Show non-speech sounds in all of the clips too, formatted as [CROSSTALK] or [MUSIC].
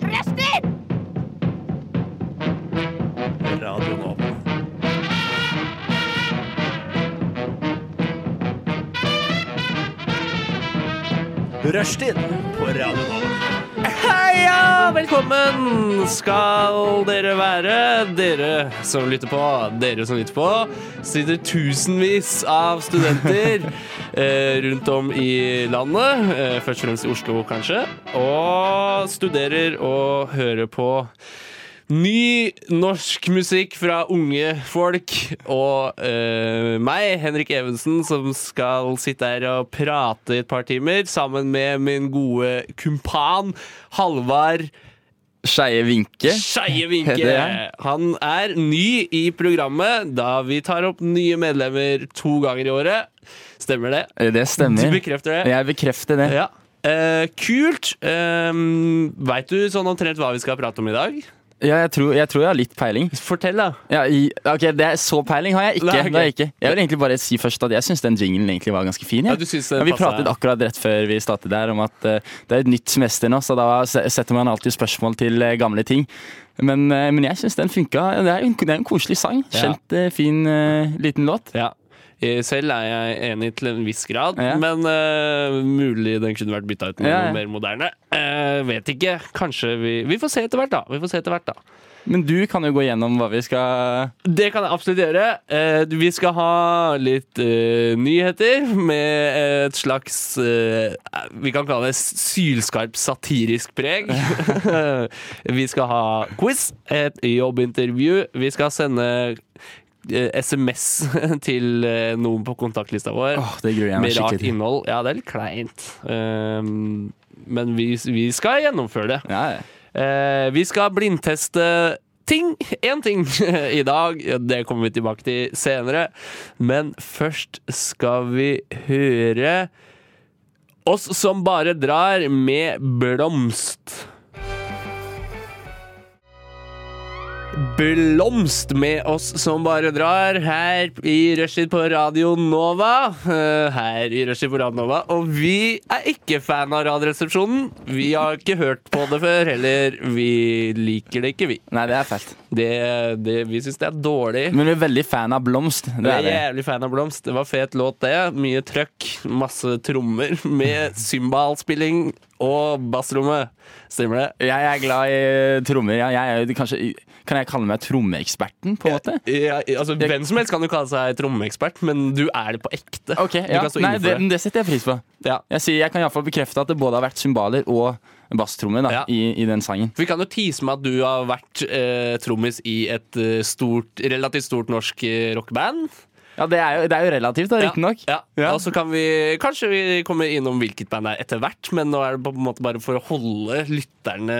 Prester! Radio Nova. Rushtid på Radio Nova. Heia! Velkommen skal dere være, dere som lytter på. Dere som lytter på. Sitter tusenvis av studenter eh, rundt om i landet. Eh, først og fremst i Oslo, kanskje. Og studerer og hører på Ny norsk musikk fra unge folk og eh, meg, Henrik Evensen, som skal sitte her og prate i et par timer sammen med min gode kumpan Halvard Skeie Vinke. Skeie Heter Vinke. jeg. Han er ny i programmet da vi tar opp nye medlemmer to ganger i året. Stemmer det? Eh, Det stemmer. Du bekrefter det? Jeg bekrefter det. Ja. Eh, kult. Um, Veit du sånn omtrent hva vi skal prate om i dag? Ja, jeg, tror, jeg tror jeg har litt peiling. Fortell, da. Ja, i, ok, det er Så peiling har jeg ikke. Nei, ok. det har jeg ikke. Jeg vil egentlig bare si først at jeg syns den jinglen egentlig var ganske fin. jeg. Ja, du synes den Ja, vi passet, pratet ja. akkurat rett før vi startet der om at eh, det er et nytt semester nå, så da se- setter man alltid spørsmål til eh, gamle ting. Men, eh, men jeg syns den funka. Det er jo en, det er en koselig sang. Ja. Kjent, eh, fin, eh, liten låt. Ja. Eh, Selv er jeg enig til en viss grad, Ja. men eh, mulig den kunne vært bytta ut med Ja, ja. noe mer moderne. Eh, vet ikke. Kanskje vi Vi får se etter hvert, da. Vi får se etter hvert, da. Men du kan jo gå gjennom hva vi skal Det kan jeg absolutt gjøre. Eh, vi skal ha litt eh, nyheter med et slags eh, Vi kan kalle det sylskarp satirisk preg. [LAUGHS] vi skal ha quiz, et jobbintervju. Vi skal sende eh, SMS [LAUGHS] til eh, noen på kontaktlista vår. Åh, det gruer jeg meg med rart skikkelig til. innhold. Ja, det er litt kleint. Ehm, men vi, vi skal gjennomføre det. Ja, ja. Eh, vi skal blindteste ting. Én ting [LAUGHS] i dag. Det kommer vi tilbake til senere. Men først skal vi høre oss som bare drar med blomst. Blomst med oss som bare drar her i Rushtid på Radio Nova. Eh, Her i Rushtid på Radio Nova. Og vi er ikke fan av Radioresepsjonen. Vi har ikke hørt på det før heller. Vi liker det ikke, vi. Nei, det er fælt. Det, det, vi syns det er dårlig. Men vi er veldig fan av blomst. Det Jeg er er vi. jævlig fan av Blomst. Det var fet låt, det. Mye trøkk, masse trommer med [LAUGHS] cymbalspilling og bassrommet. Stemmer det? Jeg er glad i eh, trommer. Jeg, jeg er jo kanskje Kan jeg kalle meg trommeeksperten, på en måte? Ja, altså, hvem som helst kan jo kalle seg trommeekspert, men du er det på ekte. Ok, Du ja. kan stå Nei, innenfor det, det. det setter jeg pris på. Ja. Jeg, sier, jeg kan iallfall bekrefte at det både har vært cymbaler og basstrommer da, Ja. i, i den sangen. Vi kan jo tease med at du har vært eh, trommis i et eh, stort, relativt stort norsk eh, rockeband. Ja, det er jo, det er jo relativt, da, riktignok. Ja. Ja. Og så kan vi kanskje vi kommer innom hvilket band det er etter hvert, men nå er det på en måte bare for å holde lytterne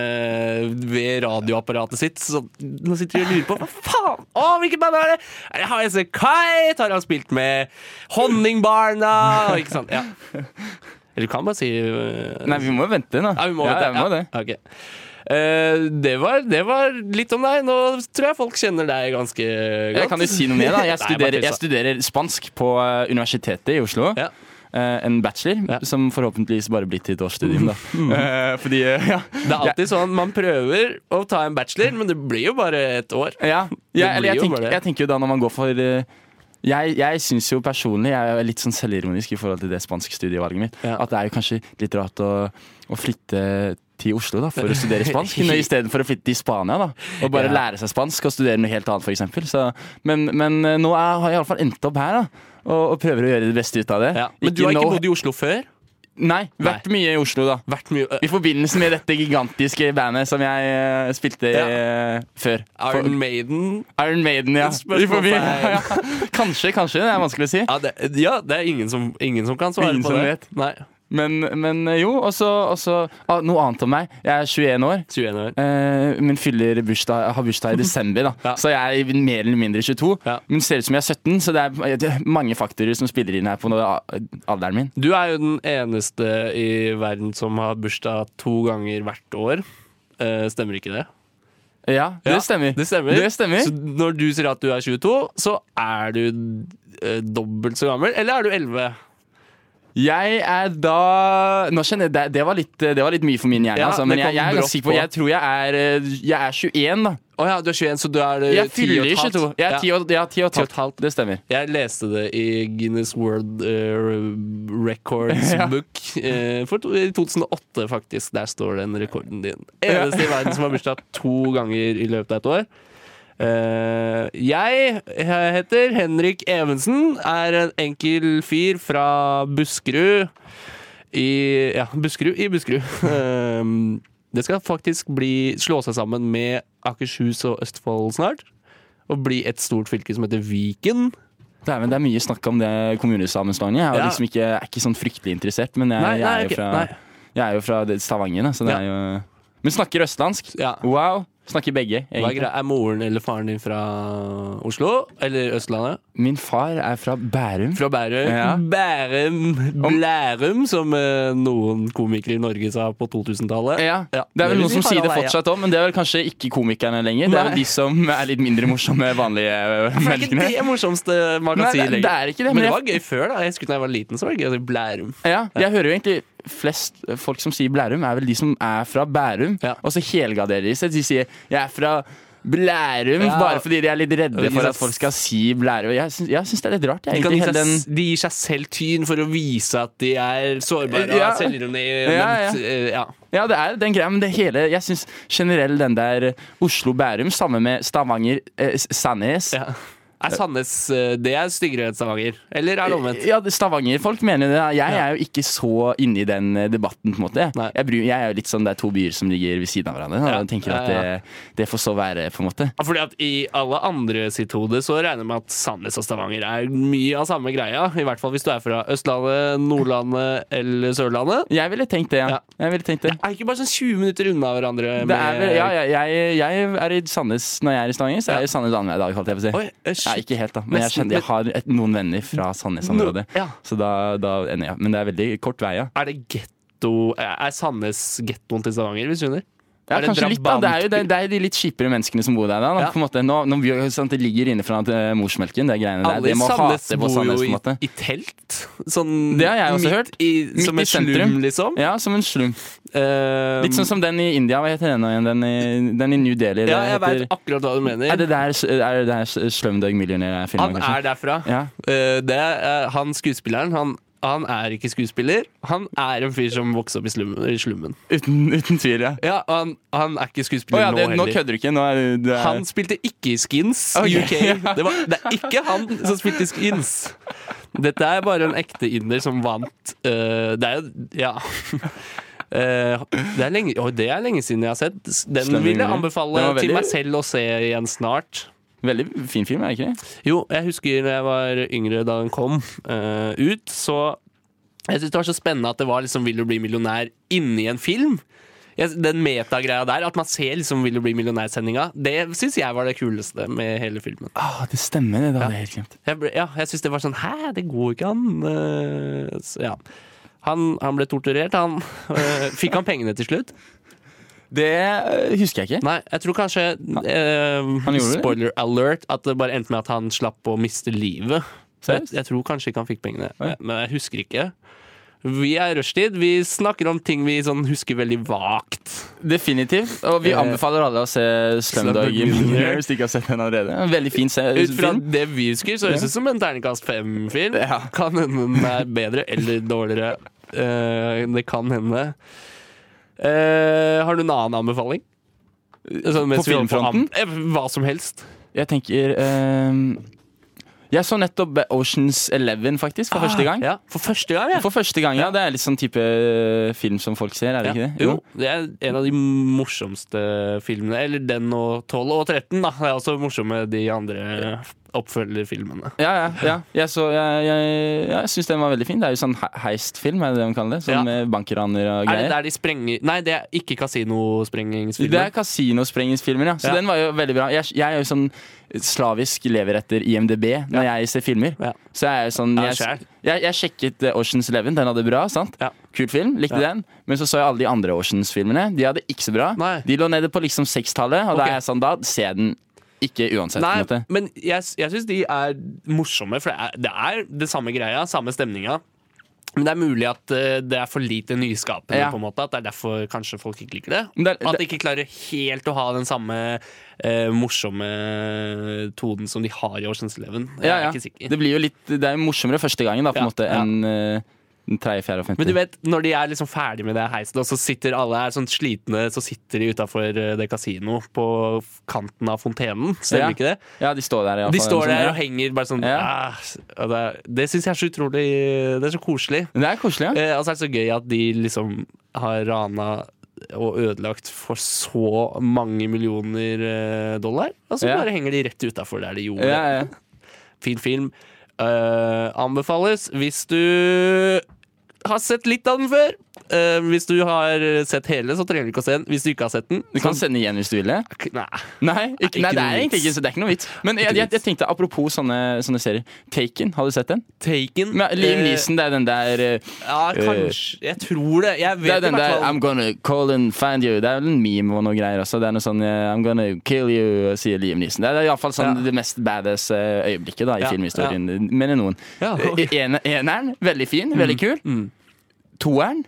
ved radioapparatet sitt. Så nå sitter de og lurer på hva faen Å, hvilket band er det? Er det HSE Kite? Har han spilt med Honningbarna? Og Ikke sant? Ja. Eller du kan bare si eh, Nei, vi må jo vente, da. ja, vi må ja, vite vi må det. Ok. Eh, det, var, det var litt om deg. Nå tror jeg folk kjenner deg ganske godt. Jeg kan jo si noe mer, da. Jeg [LAUGHS] Nei, bare studerer, jeg tulla. studerer spansk på eh, Universitetet i Oslo. Ja. Eh, en bachelor, Ja. Mm. som forhåpentligvis bare blir til et årsstudium, [LAUGHS] da. Eh, fordi eh, ja. Det er alltid sånn, man prøver å ta en bachelor, men det blir jo bare et år. Ja, ja eller blir jeg jo tenker, bare det. jeg tenker jo da når man går for eh, jeg, jeg syns jo personlig, jeg er litt sånn selvironisk i forhold til det spanske studievalget mitt, Ja. at det er jo kanskje litt rart å, å flytte til Oslo da, for å studere spansk, [LAUGHS] [LAUGHS] nå istedenfor å flytte til Spania da, og bare Ja. lære seg spansk og studere noe helt annet, f.eks. Men, men eh, nå er, har jeg iallfall endt opp her, da. Og, og prøver å gjøre det beste ut av det. Ja. Men du har no- ikke bodd i Oslo før? Nei, vært mye i Oslo, da. Vært mye eh, I forbindelse med dette gigantiske bandet som jeg eh, spilte Ja. eh, før. For- Iron Maiden Iron Maiden, ja. Spørsmål I forbi- feil. [LAUGHS] ja. Kanskje, kanskje. Det er vanskelig å si. ja det, ja, det er ingen som, ingen som kan svare Ingen på som det. vet. Nei. Men, men eh, jo, og så og så- ah, Noe annet om meg. Jeg er 21 år. 21 år. eh, men fyller bursdag, har bursdag i desember, da. [LAUGHS] Ja. så jeg er mer eller mindre 22. Ja. Men ser ut som jeg er 17, så det er, det er mange faktorer som spiller inn her på noe, alderen min. Du er jo den eneste i verden som har bursdag to ganger hvert år. Eh, stemmer ikke det? Ja, det Ja, stemmer. Det stemmer. Det stemmer. Så når du sier at du er 22, så er du eh, dobbelt så gammel, eller er du 11? Jeg er da Nå kjenner jeg, det, det, var litt, det var litt mye for min hjerne, Ja, altså, det men jeg, kom jeg er brått ganske sikker på på. Jeg tror jeg er, eh, jeg er 21, da. Å ja, du er 21, så du er eh, Jeg 10 fyller og et 22. halvt. Jeg er Ja. 10 og, ja, 10 og og et halvt. Det stemmer. Jeg leste det i Guinness World eh, Records Ja. Book eh, for to, i 2008, faktisk. Der står den rekorden din. Eneste i verden som har bursdag to ganger i løpet av et år. Eh, jeg heter Henrik Evensen, er en enkel fyr fra Buskerud. I ja, Buskerud i Buskerud. [LAUGHS] Eh, det skal faktisk bli, slå seg sammen med Akershus og Østfold snart. Og bli et stort fylke som heter Viken. Det er, men det er mye snakk om det kommunesammenslåingen. Jeg er, Ja. jo liksom ikke, er ikke sånn fryktelig interessert, men jeg, Nei, jeg, nei, er, jo ok, fra, nei. jeg er jo fra det- Stavanger, da, så det Ja. er jo Men snakker østlandsk. Ja. Wow. Snakker begge, Hva er, egentlig. greia? er moren eller faren din fra Oslo? Eller Østlandet? Min far er fra Bærum. Fra Bærum? Ja. Bærum Blærum, som eh, noen komikere i Norge sa på 2000-tallet. Ja. Ja. Det Det er vel vil noen som si sier det Harald Eia. fortsatt òg, men det er vel kanskje ikke komikerne lenger. Det er Nei. vel de som er litt mindre morsomme, [LAUGHS] vanlige eh, Det er ikke menneskene. det morsomste man kan Nei, si det- lenger. det er ikke det, Men men det jeg- var gøy før, da. Jeg husker da jeg var liten, så var det gøy å si Blærum. Ja, jeg hører jo egentlig flest eh, folk som sier Blærum, er vel de som er fra Bærum. Ja. Og så helgarderer de seg. De sier 'jeg er fra Blærum', Ja. bare fordi de er litt redde Og de for sa- at folk skal si Blærum. Jeg syns, jeg syns det er litt rart. Jeg, De, kan egentlig, gi hele seg, den, de gir seg selv tyn for å vise at de er sårbare og Ja. har selvironi. Ja, men, eh, ja. ja, det er den greia, men det hele Jeg syns generell den der Oslo-Bærum sammen med Stavanger, eh, S- Sandnes Ja. Er Sandnes eh, Det er styggere enn Stavanger? Eller er det omvendt? Ja, det- Stavanger-folk mener det. Jeg er jo ikke så inne i den eh, debatten, på en måte. Nei. Jeg, bryr, jeg er jo litt sånn det er to byer som ligger ved siden av hverandre. Og Ja. jeg tenker at Ja, ja. det, det får så være, på en måte. Ja, Fordi at I alle andre sitt hode så regner jeg med at Sandnes og Stavanger er mye av samme greia. I hvert fall hvis du er fra Østlandet, Nordlandet eller Sørlandet. Jeg ville tenkt det, ja. Ja. Jeg ville tenkt det. Er ikke bare sånn 20 minutter unna hverandre? det er vel, ja, jeg, jeg, jeg er i Sandnes når jeg er i Stavanger, så er jeg i Sandnes annenhver dag, holdt jeg på å si. Oi, eh, Nei, shit. ikke helt, da. Men jeg, Nesten, kjenner, jeg har et, noen venner fra Sandnes-området, No, ja. så da, da ender jeg. Men det er veldig kort vei, ja. Er det getto Er Sandnes gettoen til Stavanger? Hvis du skjønner? Ja, Er det kanskje litt, da. Det er jo det, drabant- det er de litt kjipere menneskene som bor der. da, da. Ja. På en måte, nå, nå, blir jo- sant, Det ligger inne fra eh, morsmelken, det greiene der. Alle Det i må Sandnes hate på bor jo Sandnes, på en måte. i, i telt. Sånn Det har jeg også midt hørt. I, Midt som i en slum, sentrum. liksom. Ja, som en slum. Eh, Litt sånn som den i India. Hva heter den nå igjen? Den i, den i New Delhi. Eh, ja, jeg det veit heter- akkurat hva du mener. Er det der, er det der Slumdog Millionaire-filmen, Han kanskje? er derfra. Ja. Eh, det er, han skuespilleren, han, han er ikke skuespiller. Han er en fyr som vokste opp i slummen. I slummen. Uten, uten tvil, ja. Ja, og han, han er ikke Å skuespiller ja, det, nå nå heller. kødder du ikke. Nå er du- du er, Han spilte ikke i Skins Ok. UK. Det, var, det er ikke han som spilte i Skins. Dette er bare en ekte inder som vant eh, Det er jo Ja. [LAUGHS] Eh, det, er lenge, oi, det er lenge siden jeg har sett. Den Slemme vil jeg Ingrid. anbefale Den var til veldig- meg selv å se igjen snart. Veldig fin film, er det ikke det? Jo, jeg husker når jeg var yngre da den kom eh, ut, så Jeg syntes det var så spennende at det var liksom 'Vil du bli millionær' inni en film. Jeg, den metagreia der, at man ser liksom 'Vil du bli millionær'-sendinga, det syns jeg var det kuleste med hele filmen. Ah, det stemmer, det. Det hadde jeg helt glemt. Jeg, ble, ja, jeg syns det var sånn 'hæ, det går ikke an'. Eh, så, ja. han, han ble torturert, han. [LAUGHS] Eh, fikk han pengene til slutt? Det øh, husker jeg ikke. Nei, jeg tror kanskje eh, gjorde det? Spoiler alert At det bare endte med at han slapp å miste livet Så jeg, Seriøst? jeg tror kanskje ikke han fikk pengene Oi. Men jeg husker ikke Vi er i rushtid Vi snakker om ting vi sånn husker veldig vagt Definitivt. Og vi Eh, anbefaler alle å se Slumdog Slumdog Millionaire. Millionaire hvis de ikke har sett den allerede. En Veldig fin se- Ut fra film. det vi husker så høres det ut som en terningkast 5-film Ja. Kan hende den er bedre eller dårligere Eh, Det kan hende Eh, Har du en annen anbefaling? Sånn, mens vi holder på an- filmfronten? Eh, Hva som helst Jeg tenker øhm, Jeg så nettopp Oceans Eleven, faktisk, for første gang. ja, For første gang, ja For første gang, Ah, ja. Det er litt sånn type øh, film som folk ser, er det Ja. ikke det? Jo, det er en av de morsomste filmene. Eller den og 12 og 13, da. Det er også morsomme de andre oppfølgerfilmene. Ja, ja. ja. Jeg, så- jeg, jeg, ja, jeg syns den var veldig fin. Det er jo sånn he- heistfilm, er det det de kaller det? Sånn Ja. med bankraner og Er det greier. der de sprenger Nei, det er ikke Det er kasinossprengingsfilmen. kasinosprengningsfilmen, ja. Så Ja. den var jo veldig bra. Jeg, jeg er jo sånn slavisk lever etter IMDb når jeg ser filmer. Ja. Så jeg er jo sånn Ja, Jeg, skjær. jeg, jeg sjekket eh, Oceans Eleven, den hadde bra, sant? Ja. Kul film, likte den. Men så så jeg alle de andre Oceans-filmene. De hadde ikke så bra. Nei. De lå nede på liksom sekstallet, og da Ok. er jeg sånn, da ser jeg den ikke uansett. på en Nei, måte. men jeg, jeg syns de er morsomme, for det er, det er det samme greia, samme stemninga. Men det er mulig at eh, det er for lite nyskapende, Ja. på en måte. At det er derfor kanskje folk ikke liker det. Men det er- at de det- ikke klarer helt å ha den samme eh, morsomme tonen som de har i Årsendsleven. Jeg Ja, er ja. ikke sikker. Det blir jo litt Det er jo morsommere første gangen, da, på en Ja, måte, ja. enn eh, den tredje, fjerde og femte. Men du vet, når de er liksom ferdig med det heisen, og så sitter alle her sånn slitne, så sitter de utafor eh, det kasino på f- kanten av fontenen. Stemmer Ja. ikke det? Ja, de står der, i alle De fall, står eller der sånn, og henger bare sånn Ja. ah, og Det, det syns jeg er så utrolig Det er så koselig. ja. Det er koselig, ja. Eh, og så er det så gøy at de liksom har rana og ødelagt for så mange millioner eh, dollar. Og så Ja. bare henger de rett utafor der de gjorde. Ja, ja. Fin film. Eh, anbefales hvis du har sett litt av den før. Eh, hvis du har sett hele, så trenger du ikke å se den. Hvis du ikke har sett den Du kan sende igjen hvis du vil det. så, nei. Nei, ikke, nei ikke det noe er egentlig vits. ikke, så det er ikke noe vits. Men jeg, jeg, jeg tenkte apropos sånne, sånne serier. Taken, har du sett den? Taken Med Liam eh, Neeson, det er den der eh, Ja, kanskje Jeg tror det. Jeg Det vet er i den hvert der fall I'm gonna call and find you. Det er vel en meme og noe greier også. Det er noe sånn eh, I'm gonna kill you, sier Liam Neeson. Det er iallfall sånn Ja. det mest badass eh, øyeblikket da i Ja, filmhistorien. eh, Mener noen. Ja, ok. Mm, Eh, ene- Eneren, veldig fin, veldig kul. Toeren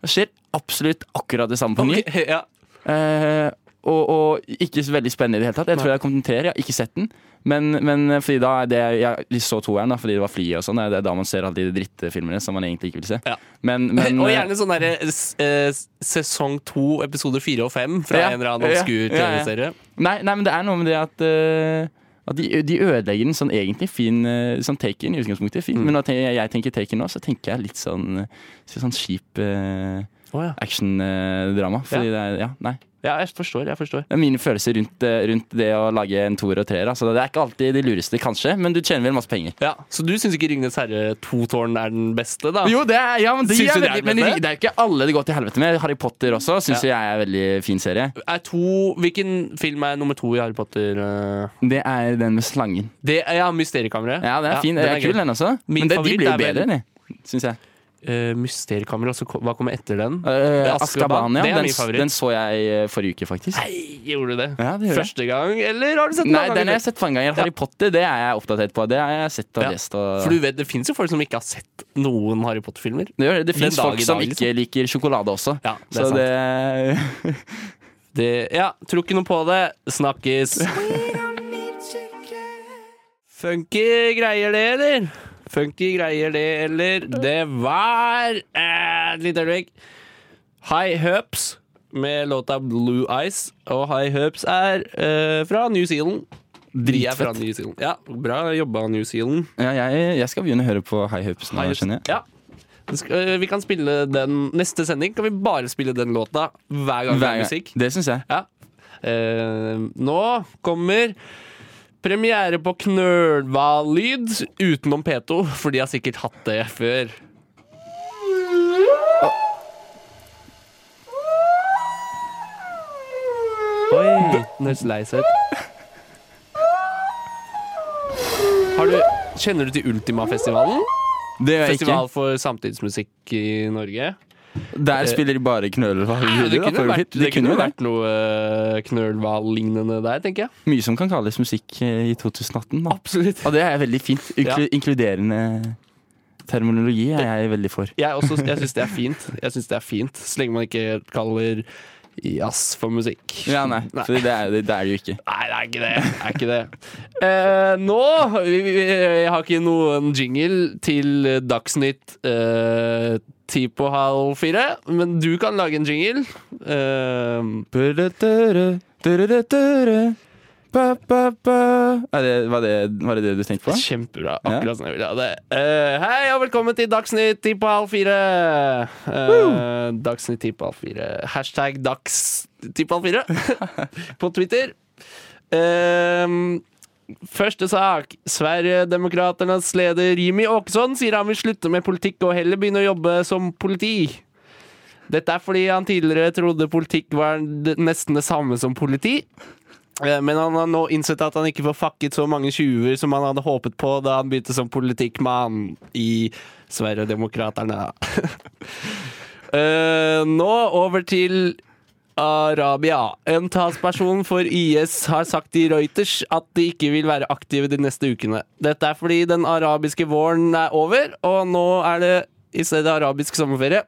det skjer absolutt akkurat det samme på ny. Ok, ja. Eh, og, og ikke så veldig spennende i det hele tatt. Jeg tror jeg kommenterer, jeg har ikke sett den. Men, men fordi da er det Jeg så toeren da, fordi det var fly og sånn. Det er da man ser alle de drittfilmene som man egentlig ikke vil se. Ja. Men, men, Eh, [LAUGHS] og gjerne sånn derre s- eh, sesong to, episoder fire og fem fra Ja. en eller annen Ja. obskur Ja, ja. TV-serie. Nei, nei, men det er noe med det at eh, at de, de ødelegger en sånn egentlig fin eh, sånn taken i utgangspunktet. er Mm. Fin. Men når jeg, tenker- jeg tenker taken nå, så tenker jeg litt sånn, eh, sånn skip eh, Å, ja. action-drama. Fordi det er Ja, nei. ja, jeg forstår. Jeg forstår. Det er mine følelser rundt, eh, rundt det å lage en toer og treer. Altså, det er ikke alltid de lureste, kanskje, men du tjener vel masse penger. Ja, Så du syns ikke 'Ringenes herre 2-tårn er den beste, da? Jo, det er, ja, men, de Syns er du det er veldig, den men beste? det er jo ikke alle det går til helvete med. Harry Potter også syns jeg er en veldig fin serie. Er to, hvilken film er nummer to i Harry Potter? eh? Det er den med slangen. Det, ja, Mysteriekammeret. Ja, den er fin. den Den er kul, gøy. den også. Min men det, de favoritt blir jo er vel- bedre, de, syns jeg. Eh, Mysteriekammeret, altså, hva kommer etter den? Uh, Azkaban, Askaban, ja. det er Den, min favoritt. den så jeg eh, forrige uke, faktisk. Nei, gjorde du det? Ja, det gjorde jeg. Første gang, eller har du sett den Nei, mange den har ganger? jeg sett mange ganger. Harry Potter det er jeg oppdatert på. Det har jeg sett og Ja. lest. Og... For du vet, det fins jo folk som ikke har sett noen Harry Potter-filmer. det gjør det. det Den fins dag i folk dag, som liksom. ikke liker sjokolade også. Ja, det er så sant. det [LAUGHS] Det, ja, tror ikke noe på det. Snakkes. Funky greier det, eller? Funky greier det, eller? Det var eh, Et lite øyeblikk. High Hubs med låta Blue Eyes. Og High Hubs er eh, fra New Zealand. De er fra Dritfett. New Zealand. Ja, bra jobba, New Zealand. Ja, jeg, jeg skal begynne å høre på High Hopes nå, High Hubs. skjønner jeg. Ja. Det skal- eh, Vi kan spille den neste sending. Kan vi bare spille den låta hver gang det Hver er gang. musikk? Det syns jeg. Ja. Eh, nå kommer premiere på Knølva-lyd utenom P2, for de har sikkert hatt det før. Oi, den høres lei seg ut. Har du, kjenner du til Ultima-festivalen? Det gjør jeg ikke. Festival for samtidsmusikk i Norge. Der spiller de bare knøler. Hva Ja, gjør de det da? kunne For- vært, det kunne jo vært vært noe eh, knølhval-lignende der, tenker jeg. mye som kan kalles musikk eh, i 2018. Da. Absolutt. Og det er veldig fint. Inklu Ja. Inkluderende terminologi er jeg veldig for. Jeg, også- jeg syns det er fint. Jeg synes det er fint Så lenge man ikke kaller jazz for musikk. Ja, nei, for det er det, det er det jo ikke. Nei, det er ikke det. det, er ikke det. Eh, nå vi- vi- Jeg har ikke noen jingle til Dagsnytt eh, ti på halv fire, men du kan lage en jingle. Eh, Er det, var, det, var det det du tenkte på? Kjempebra. Akkurat sånn jeg ville ha det. Eh, hei og velkommen til Dagsnytt 10 på halv fire. Eh, Dagsnytt 10 på halv fire. Hashtag dags 10 på halv fire på Twitter. Ehm, første sak. Sverigedemokraternas leder Jimmy Åkesson sier han vil slutte med politikk og heller begynne å jobbe som politi. Dette er fordi han tidligere trodde politikk var det- nesten det samme som politi. Eh, Men han har nå innsett at han ikke får fakket så mange tjuver som han hadde håpet på da han begynte som politikkmann i Sverigedemokraterna. [LAUGHS] Eh, nå over til Arabia. En talsperson for IS har sagt i Reuters at de ikke vil være aktive de neste ukene. Dette er fordi den arabiske våren er over, og nå er det i stedet arabisk sommerferie.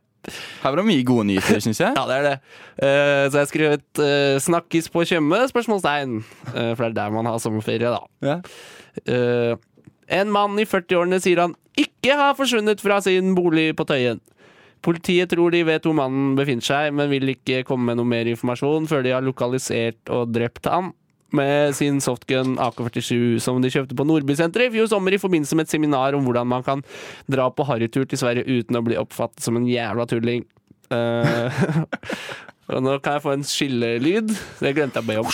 Her var det mye gode nyheter, syns jeg. Ja, det er det. Eh, så jeg har skrevet eh, 'snakkes på Tjøme?' spørsmålstegn. Eh, for det er der man har sommerferie, da. Ja. Eh, en mann i 40-årene sier han ikke har forsvunnet fra sin bolig på Tøyen. Politiet tror de vet hvor mannen befinner seg, men vil ikke komme med noe mer informasjon før de har lokalisert og drept han. Med sin softgun AK-47 som de kjøpte på Nordbysenteret i fjor sommer i forbindelse med et seminar om hvordan man kan dra på harrytur til Sverige uten å bli oppfattet som en jævla tulling. Eh, [LAUGHS] og nå kan jeg få en skillelyd. Det glemte jeg å be om.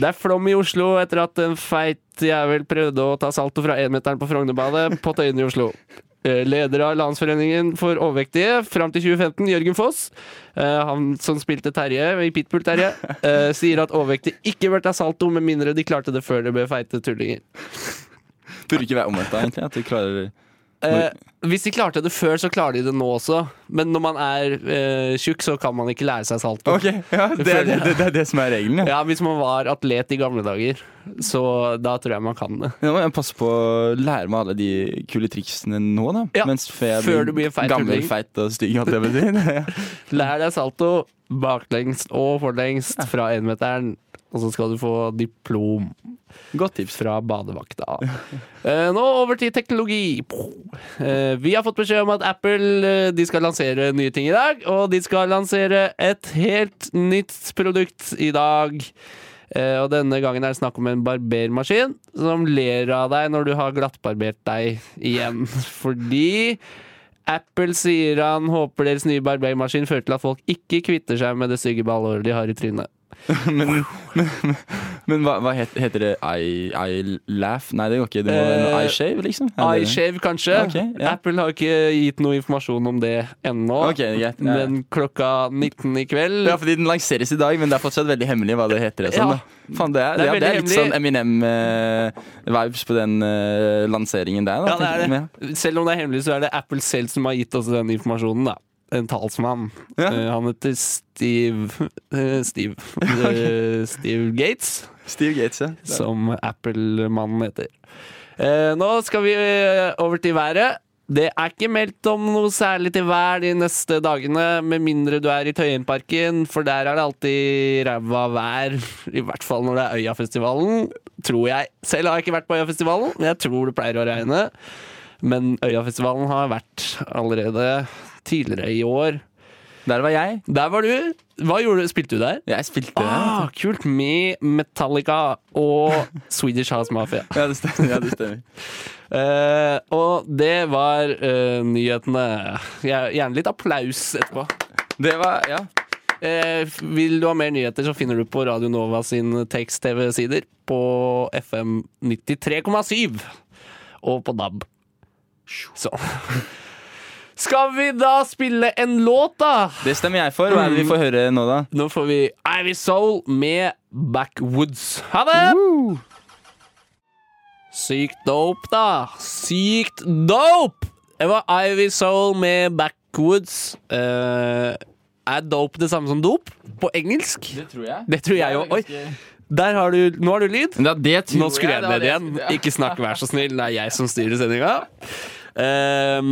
Det er flom i Oslo etter at en feit jævel prøvde å ta saltet fra énmeteren på Frognerbadet på Tøyen i Oslo. Eh, Leder av Landsforeningen for overvektige fram til 2015, Jørgen Foss, eh, han som spilte Terje i Pitbull Terje, eh, sier at overvektige ikke bør ta salto med mindre de klarte det før det ble feite tullinger. Burde ikke være omvendt, da, egentlig. At du klarer Eh, hvis de klarte det før, så klarer de det nå også. Men når man er eh, tjukk, så kan man ikke lære seg salto. Ok, ja, det, er det, det, det er det som er regelen, ja. Ja, Hvis man var atlet i gamle dager, så da tror jeg man kan det. Nå må jeg passe på å lære meg alle de kule triksene nå, da. Ja, Mens før, jeg før du blir feit gammel, tulling. feit og stygg. holdt jeg på å [LAUGHS] si. Ja. Lær deg salto baklengs og forlengst fra énmeteren, og så skal du få diplom Godt tips. fra badevakta. Eh, nå over til teknologi. Eh, vi har fått beskjed om at Apple eh, de skal lansere nye ting i dag, og de skal lansere et helt nytt produkt i dag. Eh, og denne gangen er det snakk om en barbermaskin som ler av deg når du har glattbarbert deg igjen. [LAUGHS] Fordi Apple sier han håper deres nye barbermaskin fører til at folk ikke kvitter seg med det stygge ballhåret de har i trynet. Men, men, men hva, hva het, heter det? I, I laugh? Nei, det går ikke. Det må være Eh, eye shave, liksom. Er det det? iShave, kanskje. Ok, ja. Apple har ikke gitt noe informasjon om det ennå. Ok, greit. Ja, ja. Men klokka 19 i kveld Ja, fordi den lanseres i dag, men det er fortsatt veldig hemmelig hva det heter. og Sånn, Ja. da. Faen, det, Det er, er ja, det er veldig litt sånn Eminem-vibes på den eh, lanseringen der. Ja, Da, det tenker er jeg. det. Selv om det er hemmelig, så er det Apple selv som har gitt oss den informasjonen, da. En talsmann. Ja. Eh, han heter Steve eh, [LAUGHS] Steve eh, Steve Gates, Ja. Steve Gates, ja. som Apple-mannen heter. Eh, nå skal vi eh, over til været. Det er ikke meldt om noe særlig til vær de neste dagene, med mindre du er i Tøyenparken, for der er det alltid ræva vær. I hvert fall når det er Øyafestivalen, tror jeg. Selv har jeg ikke vært på Øyafestivalen, men jeg tror det pleier å regne. Men Øyafestivalen har vært allerede tidligere i år. Der var jeg. Der var du. Hva gjorde du? Spilte du der? Jeg spilte Ah, kult med Metallica og Swedish House Mafia. Ja, det stemmer. Ja, det stemmer. Eh, og det var eh, nyhetene. Gjer- Gjerne litt applaus etterpå. Det var, ja. Eh, vil du ha mer nyheter, så finner du på Radio Nova sin tekst-TV-sider på FM 93,7 og på DAB. Så Skal vi da spille en låt, da? Det stemmer jeg for. Hva er det vi får høre nå, da? Nå får vi Ivy Soul med Backwoods. Ha det! Sykt dope, da. Sykt dope! Det var Ivy Soul med Backwoods. Eh, er dope det samme som dop på engelsk? Det tror jeg. Det tror jeg jo. Oi, der har du, nå har du lyd. Ja, det tror Nå skrur jeg det ned var igjen. det jeg- Ikke snakk, vær så snill. Det er jeg som styrer sendinga.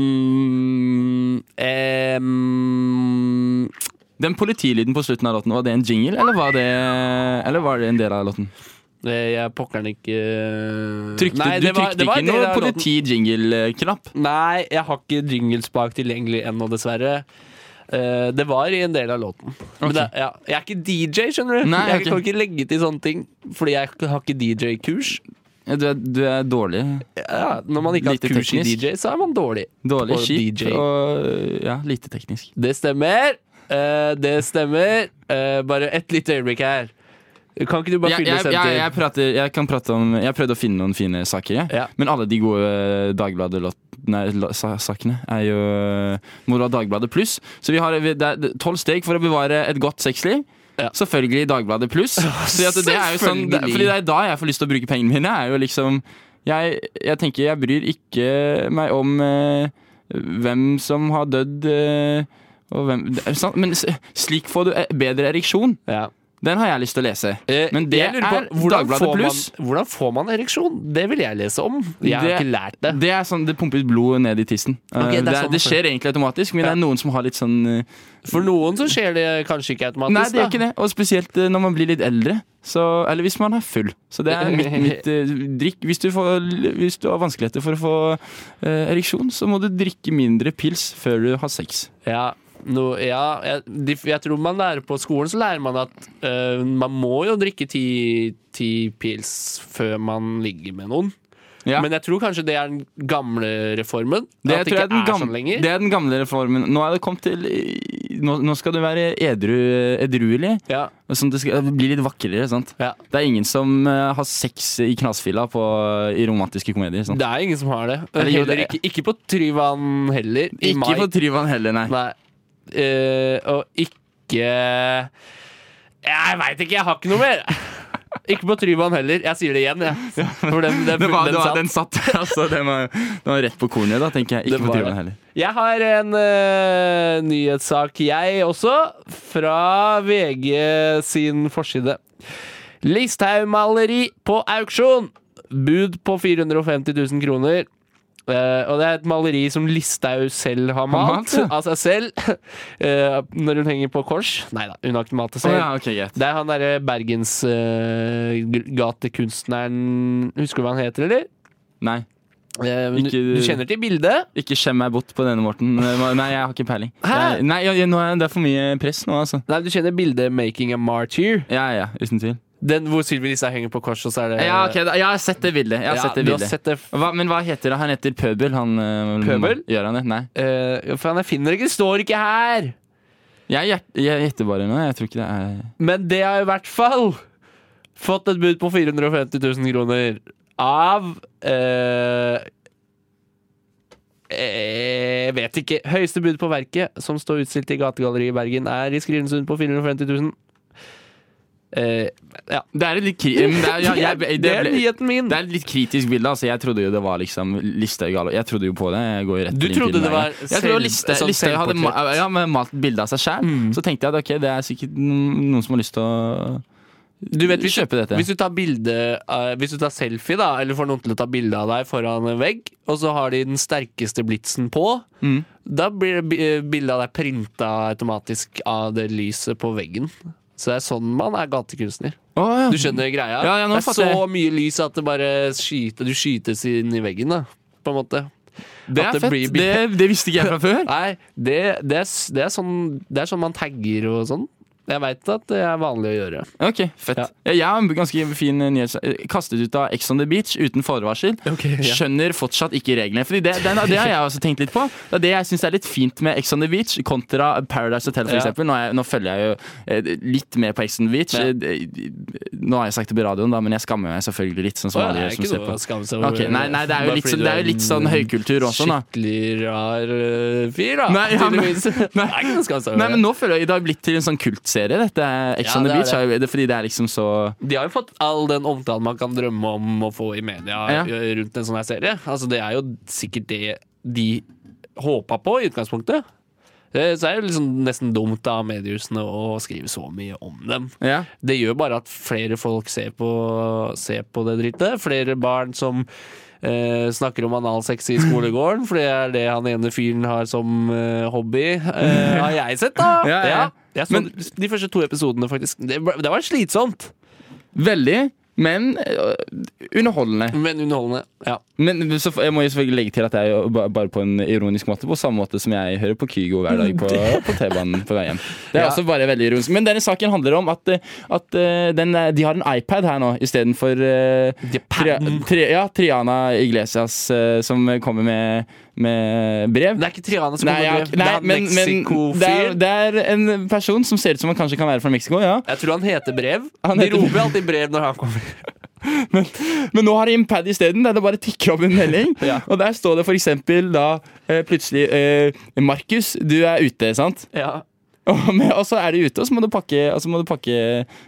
Um, um, Den politilyden på slutten av låten, var det en jingle, eller var det, eller var det en del av låten? Eh, Jeg pokkeren ikke eh, Trykte, Nei, du det var- trykte det var en del ikke noe av låten. politi-jingle-knapp? Nei, jeg har ikke jingles bak tilgjengelig ennå, dessverre. Eh, det var i en del av låten. Men Ok. det, ja. Jeg er ikke DJ, skjønner du. Nei, jeg ok. kan ikke legge til sånne ting, fordi jeg har ikke DJ-kurs. Ja, Du, er- du er dårlig. Ja, når man ikke har Lite kurs i teknisk. DJ, så er man dårlig. Dårlig på skip DJ. og ja, lite teknisk. Det stemmer. Eh, det stemmer. Eh, bare et lite øyeblikk her. Kan ikke du bare Jeg, fylle jeg, senter? jeg, jeg, prater, jeg kan prate om Jeg prøvde å finne noen fine saker, jeg. Ja. men alle de gode Dagbladet-sakene er jo Må du ha Dagbladet pluss? Så vi har vi- det er tolv steg for å bevare et godt sexliv. Ja. Selvfølgelig [LAUGHS] Dagbladet pluss. Fordi, at det er jo sånn, det, Selvfølgelig. fordi det er da jeg får lyst til å bruke pengene mine. Er jo liksom jeg, jeg tenker jeg bryr ikke meg om eh, hvem som har dødd eh, og hvem, det er sant, Men s- slik får du eh, bedre ereksjon. Ja. Den har jeg lyst til å lese. Eh, Men det jeg er lurer på, hvordan Dagbladet får Pluss. Man, hvordan får man ereksjon? Det vil jeg lese om. Jeg har Det- ikke lært det. Det er sånn, det pumper ut blod ned i tissen. Eh, Ok, det er det, er sånn- det skjer egentlig automatisk, men det er noen som har litt sånn eh, For noen så skjer det kanskje ikke automatisk. Nei, det da. er ikke det. Og spesielt eh, når man blir litt eldre. Så, eller hvis man er full. Så det er mitt, mitt eh, drikk hvis du, får, hvis du har vanskeligheter for å få eh, ereksjon, så må du drikke mindre pils før du har sex. Ja, no, ja jeg, de, jeg tror man lærer på skolen så lærer man at øh, man må jo drikke ti, ti pils før man ligger med noen. Ja. Men jeg tror kanskje det er den gamle reformen. Det, at det ikke tror jeg er den er gamle, sånn lenger. det er den gamle reformen. Nå er det kommet til Nå, nå skal du være edru, edruelig. Ja, Sånn at det skal bli litt vakrere. sant? ja. Det er ingen som eh, har sex i knasfilla på, i romantiske komedier. sånn. Sant? Det er ingen som har det. Eller jo, Heller det- ikke, ikke på Tryvann heller. I Ikke mai. på Tryvann heller, nei. Nei. Eh, og ikke Jeg veit ikke, jeg har ikke noe mer. [LAUGHS] Ikke på Tryvann heller. Jeg sier det igjen, jeg. For den, den, Det var, den det var, satt. den satt der, altså. Den var, den var rett på kornet, da, tenker jeg. Det Ikke på var Tryvann det. heller. Jeg har en eh, nyhetssak, jeg også, fra VG sin forside. Listhaug-maleri på auksjon! Bud på 450 000 kroner. Eh, og det er et maleri som Listhaug selv har malt, malt, ja. av seg selv. [LAUGHS] eh, når hun henger på kors. Nei da, hun har ikke malt det Å selv. ja, ok, greit. Det er han derre Bergensgatekunstneren Husker du hva han heter, eller? Nei. Eh, men Ikke- du, du kjenner til bildet? Ikke skjem meg bort på denne, Morten. Nei, jeg har ikke peiling. Hæ? Jeg- Nei, jeg, jeg, nå er, Det er for mye press nå, altså. Nei, du kjenner bildet 'Making a Martyr'? Ja, ja, uten tvil. Den hvor Sylvi Listhaug henger på kors, og så er det Ja, ok, da, jeg har sett det bildet. Jeg har Ja, sett det du har bildet. sett det. f- Hva, men hva heter det? Han heter Pøbel. Han, eh, Pøbel? Gjør han det? Nei. eh, for jeg finner ikke, det står ikke her! Jeg gjett- jeg gjetter bare nå. Jeg tror ikke det er Men det har i hvert fall fått et bud på 450 000 kroner av eh, Jeg vet ikke. Høyeste bud på verket, som står utstilt i Gategalleriet i Bergen, er i Skrivensund på 450 000. Eh, ja. Det er et litt kri... Men det er, ja, jeg, [LAUGHS] det, det er ble, nyheten min. det er et litt kritisk bilde. altså Jeg trodde jo det var liksom Listhaug galo. Jeg trodde jo på det. Jeg går jo rett Du inn trodde til det meg. var Jeg trodde selv- Liste- sånn Listhaug hadde ma selvportrett. Mm. ja, men malt bilde av seg sjæl. Så tenkte jeg at ok, det er sikkert no- noen som har lyst til å Du vet, hvis, Kjøpe dette. Du, hvis du tar bilde eh, Hvis du tar selfie, da, eller får noen til å ta bilde av deg foran en vegg, og så har de den sterkeste blitsen på, Mm. da blir det bi- eh, bildet av deg printa automatisk av det lyset på veggen. Så det er sånn man er gatekunstner. Å, ja. Du skjønner greia? Ja, ja, nå det er fatter så jeg. mye lys at det bare skyter, du skytes inn i veggen, da, på en måte. Det At er det blir- fett. Det, det visste ikke jeg fra før. Nei, det, det, er, s- det, er, sånn, det er sånn man tagger og sånn. Jeg veit at det er vanlig å gjøre. Ok, fett. Ja. Ja. Jeg har en ganske fin nyhets... Kastet ut av Ex on the Beach uten forvarsel. Ok, ja. Skjønner fortsatt ikke reglene. Fordi det, den, det har jeg også tenkt litt på. Det er det jeg syns er litt fint med Ex on the Beach kontra Paradise Hotel, Ja. f.eks. Nå, er jeg- nå følger jeg jo eh, litt med på Ex on the Beach. Ja. Eh, Nå har jeg sagt det på radioen, da, men jeg skammer meg selvfølgelig litt. Sånn som Å, alle det er som ikke ser noe på. å skamme seg over. Ok, nei, nei, det er jo Bare litt, fordi du sånn- det er jo en litt sånn høykultur også, da. Skikkelig rar øh, fyr, da. Nei, ja, men- tydeligvis. det er ikke noe å skamme seg over. [LAUGHS] Nei, men nå føler jeg Det har blitt til en sånn kultserie, dette Ex altså. Ja, on the det er Beach. er jo- det- Fordi det er liksom så De har jo fått all den omtalen man kan drømme om å få i media Ja. øh, rundt en sånn her serie. Altså, det er jo sikkert det de håpa på i utgangspunktet. Eh, Så er det jo liksom nesten dumt av mediehusene å skrive så mye om dem. Ja. Det gjør bare at flere folk ser på, ser på det drittet. Flere barn som eh, snakker om analsex i skolegården, for det er det han ene fyren har som eh, hobby. Eh, har jeg sett, da! [LAUGHS] Ja, ja, ja. Jeg så Men- de første to episodene, faktisk. Det, var- det var slitsomt, Veldig, men øh, underholdende. men underholdende. Ja. Men så, jeg må jo selvfølgelig legge til at jeg jo ba- bare på en ironisk måte, på samme måte som jeg hører på Kygo hver [LAUGHS] dag på, på T-banen på vei hjem. Det er Ja. også bare veldig ironisk. Men denne saken handler om at, eh, at eh, den, eh, de har en iPad her nå istedenfor uh, De padden. ja, Triana Iglesias eh, som kommer med, med brev. Det er ikke Triana som Nei, kommer jeg, med. nei, Det er men, men det, er, Mexico-fyr. det er en person som ser ut som han kanskje kan være fra Mexico, ja. Jeg tror han heter Brev. Han heter- De [LAUGHS] roper alltid Brev når han kommer. Men nå har de en pad isteden, der det bare tikker opp en melding. [LAUGHS] Ja. Og der står det f.eks. da eh, plutselig eh, Markus, du er ute, sant? [LAUGHS] Ja. Og med- og så er de ute, og så må du pakke, og så må du pakke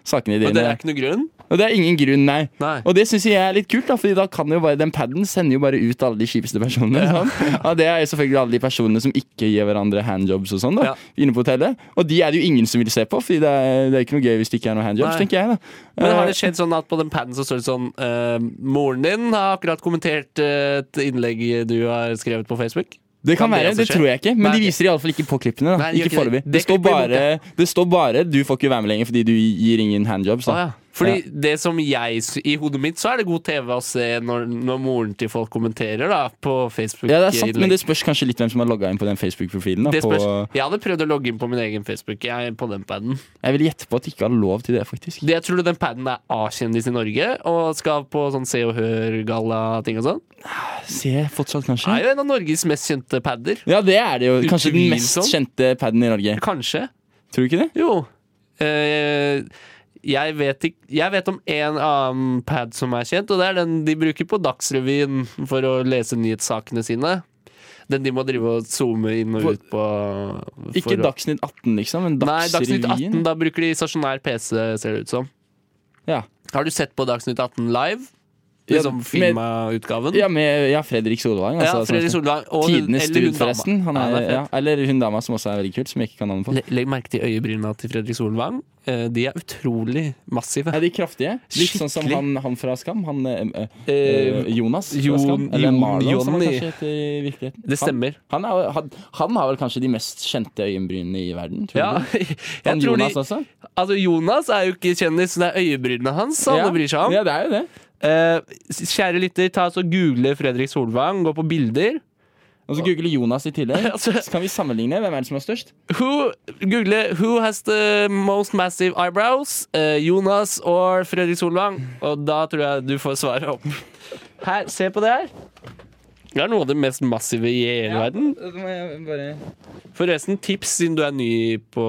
sakene dine. Men det er ikke noe grunn? Og det er ingen grunn, nei. Nei. Og det syns jeg er litt kult, da, Fordi da kan jo bare den paden sender jo bare ut alle de kjipeste personene. Ja. [LAUGHS] Ja, det er jo selvfølgelig alle de personene som ikke gir hverandre handjobs og sånn, da. Ja. Inne på hotellet. Og de er det jo ingen som vil se på, Fordi det er, det er ikke noe gøy hvis det ikke er noe handjobs, Nei. tenker jeg, da. Men har Eh, det skjedd sånn at på den paden så står det sånn eh, Moren din har akkurat kommentert eh, et innlegg du har skrevet på Facebook. Det kan, Kan det være, det, også skje? tror jeg ikke. Men Nei, de ok. viser iallfall ikke på klippene. da Nei, de gjør Ikke ikke det. foreløpig. Det Det, står klipper jeg bort, bare- det står bare 'du får ikke være med lenger fordi du gir ingen handjobs'. Da. Ah, ja. Fordi det som jeg s- I hodet mitt så er det god TV å se når, når moren til folk kommenterer da på Facebook. ja. det er sant, men innlegg. det spørs kanskje litt hvem som har logga inn på den Facebook-profilen. da Det spørs. på- Jeg hadde prøvd å logge inn på min egen Facebook. Jeg er på den paden. Jeg vil gjette på at de ikke har lov til det, faktisk. Det, jeg tror den paden er A-kjendis i Norge og skal på sånn Se og Hør-galla-ting og sånn. Se fortsatt, kanskje. Er jo en av Norges mest kjente pader. Ja, det er det jo. Kanskje den mest Utvilsomt. kjente paden i Norge. Kanskje. Tror du ikke det? Jo. Eh, jeg, vet ikk- jeg vet om en annen pad som er kjent, og det er den de bruker på Dagsrevyen for å lese nyhetssakene sine. Den de må drive og zoome inn og ut på. Ikke for å- Dagsnytt 18, liksom, men Nei, Dagsnytt 18. Dagsrevyen. Da bruker de stasjonær PC, ser det ut som. Ja. Har du sett på Dagsnytt 18 live? Ja, Liksom med- filma utgaven? Ja, med ja, Fredrik Solvang. Ja, Altså, som- Fredrik Solvang. og hun- Tidenes eller hun dude, dama. forresten. Han Ja, er, det er ja, eller hun dama som også er veldig kult, som jeg ikke kan navnet på. fett. Le- Legg merke til øyebrynene til Fredrik Solvang. Eh, De er utrolig massive. Ja, de kraftige. Litt sånn som Skikkelig. han, han fra Skam. Han eh, eh, Eh, Jonas fra Jon- Skam. Eller Jon- Marlon, som han Jonny. kanskje heter i virkeligheten. Det stemmer. Han, han, er, han, han har vel kanskje de mest kjente øyenbrynene i verden. Tror Ja, du? [LAUGHS] jeg Han tror Jonas de, også. altså Jonas er jo ikke kjendis, det er øyebrynene hans alle ja. bryr seg om. Ja, det er jo det. Eh, kjære lytter, ta oss og google Fredrik Solvang, gå på bilder. Og så googler Jonas [LAUGHS] i tillegg. Altså- Så kan vi sammenligne hvem er det som er størst. Who, google 'Who has the most massive eyebrows?' Eh, Jonas or Fredrik Solvang. Og da tror jeg du får svaret opp. Her, se på det her. Det er noe av det mest massive i hele verden. Forresten, tips siden du er ny på,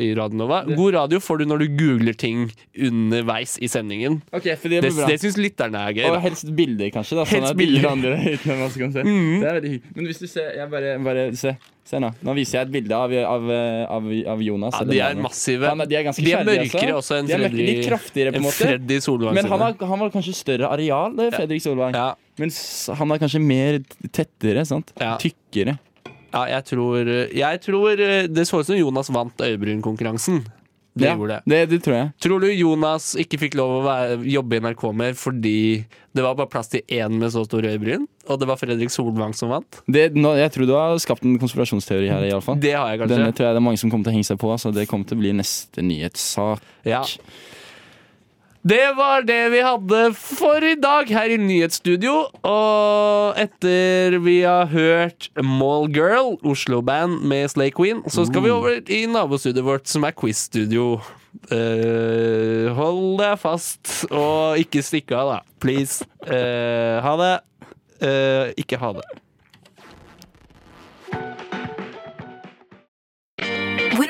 i Radio Nova. God radio får du når du googler ting underveis i sendingen. Ok, for det Det, blir bra. det syns lytterne er gøy. og da. helst bilder, kanskje. Da, sånn Helst at ingen bilder. Mm. andre [LAUGHS] der ute enn oss kan se. Det er veldig hyggelig. Men hvis du ser jeg bare, bare se. se nå. nå viser jeg et bilde av, av, av, av Jonas. Ja, eller de er Marlon. massive. Han er- de er ganske skjerrige, altså. mørkere også enn De er mørkere, Freddy, litt kraftigere, på en enn måte. Freddy Solvang. Men han sine. har, han var kanskje større areal, det, Fredrik Solvang. ja, Mens han er kanskje mer tettere, sant? Ja. Tykkere. ja, jeg tror, jeg tror eh, Det så ut som Jonas vant øyebrynkonkurransen. Det Ja, gjorde det. det, det tror jeg. Tror du Jonas ikke fikk lov å være, jobbe i NRK mer fordi det var bare plass til én med så store øyebryn, og det var Fredrik Solvang som vant? Det, nå, jeg tror du har skapt en konspirasjonsteori her, iallfall. Det har jeg kanskje. Den tror jeg det er mange som kommer til å henge seg på. Altså, det kommer til å bli neste nyhetssak. Ja. Det var det vi hadde for i dag her i nyhetsstudio. Og etter vi har hørt Mall Girl, Oslo-band med Slay Queen, så skal vi over i nabostudioet vårt, som er quiz-studio. Eh, hold deg fast, og ikke stikk av, da. Please. Eh, ha det. Eh, ikke ha det. Hvor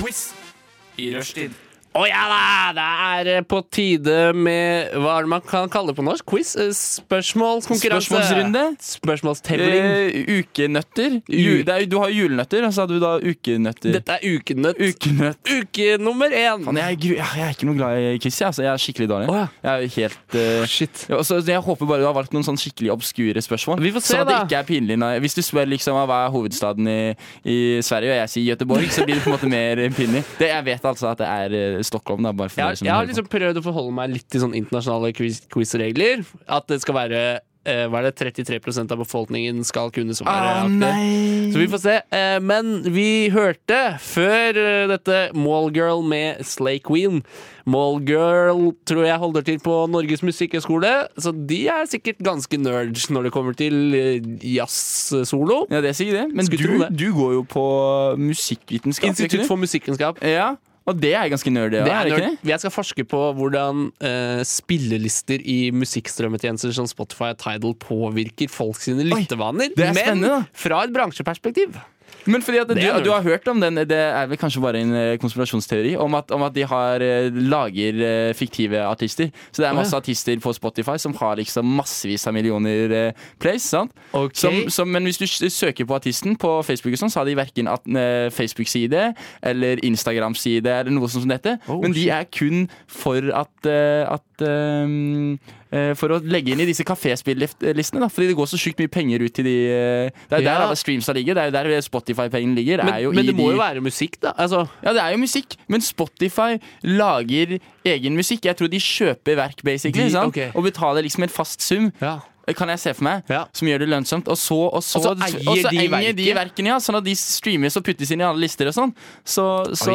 Quiz i rushtid. Å ja da! Det er eh, på tide med hva er det man kan kalle det på norsk? Quiz? Eh, Spørsmålskonkurranse? Spørsmålsrunde? Spørsmålstevling? Eh, ukenøtter. Ju, det er, jo- du har julenøtter, og så hadde du da ukenøtter. Dette er Ukenøtt. Ukenøtt. Uke nummer én. Faen, jeg, er gru- jeg er ikke noe glad i quiz. jeg, Altså, jeg er skikkelig dårlig. Å, ja. Jeg er jo helt eh, Shit. ja, også, jeg håper bare du har valgt noen sånn skikkelig obskure spørsmål. Vi får se, sånn at det da. ikke er pinlig når, Hvis du spør liksom, hva er hovedstaden i, i Sverige, og jeg sier Göteborg, så blir det på en måte mer pinlig. Det, jeg vet altså at det er eh, Stockholm. Da, bare for Jeg, dere har- som jeg har hører på. liksom prøvd å forholde meg litt til sånn internasjonale quiz- quiz-regler. At det skal være eh, hva er det, 33 av befolkningen skal kunne svare. Ah, aktig. nei. Så vi får se. Eh, Men vi hørte før eh, dette Mallgirl med Slay Queen. Mallgirl tror jeg holder til på Norges Musikkhøgskole, så de er sikkert ganske nerds når det kommer til eh, jazz-solo. Ja, det sier jeg det. Men Skulle tro du, det. du går jo på musikkvitenskap. gjør ikke Institutt du? for musikkvitenskap. Ja, og det er ganske nerdy, Det ja, er er det ikke nerd. det? Jeg skal forske på hvordan eh, spillelister i musikkstrømmetjenester som Spotify og Tidal påvirker folk sine lyttevaner. det er men spennende, da. fra et bransjeperspektiv. Men fordi at du, er nerd. du har hørt om den, det er vel kanskje bare en eh, konspirasjonsteori, om at, om at de har, eh, lager eh, fiktive artister. Så det er masse ja. artister på Spotify som har liksom massevis av millioner eh, plays, sant? Ok. Som, som, men hvis du s- søker på artisten på Facebook og sånn, så har de verken at- eh, Facebook-side eller Instagram-side eller noe sånt som dette. Oh, men de shit. er kun for at, eh, at ehm, eh, For å legge inn i disse kaféspillistene, da. Fordi det går så sjukt mye penger ut til de eh, Det er jo Ja. der alle streamsa ligger. Det er jo der Spotify-pengene ligger. Men, er jo men i det må de, jo være musikk, da. Altså, Ja, det er jo musikk. Men Spotify lager egen musikk. Jeg tror de kjøper verk, basically, De- sant? ok. og betaler liksom en fast sum ja. Eh, kan jeg se for meg, Ja. som gjør det lønnsomt. Og så, og så, Og så eier og så de eier de verket. verkene, ja, sånn at de streames og puttes inn i alle lister og sånn. Så, så,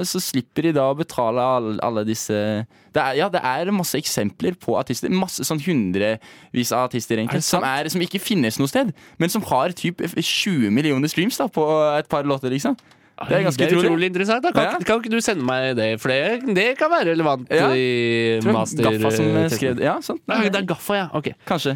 så slipper de da å betale alle, alle disse det er, Ja, det er masse eksempler på artister. Masse sånn hundrevis av artister Er egentlig, det sant? som, er, som ikke finnes noe sted, men som har typ 20 millioner streams da, på et par låter, liksom. Det er ganske utrolig, utrolig. interessant. Da. Kan, Ja. kan ikke du sende meg det? For det, det kan være relevant Ja. i Tror jeg master... Gaffa som eh, testen. skrev det. Ja, sant. Nei, det er Gaffa, ja. Ok. Kanskje.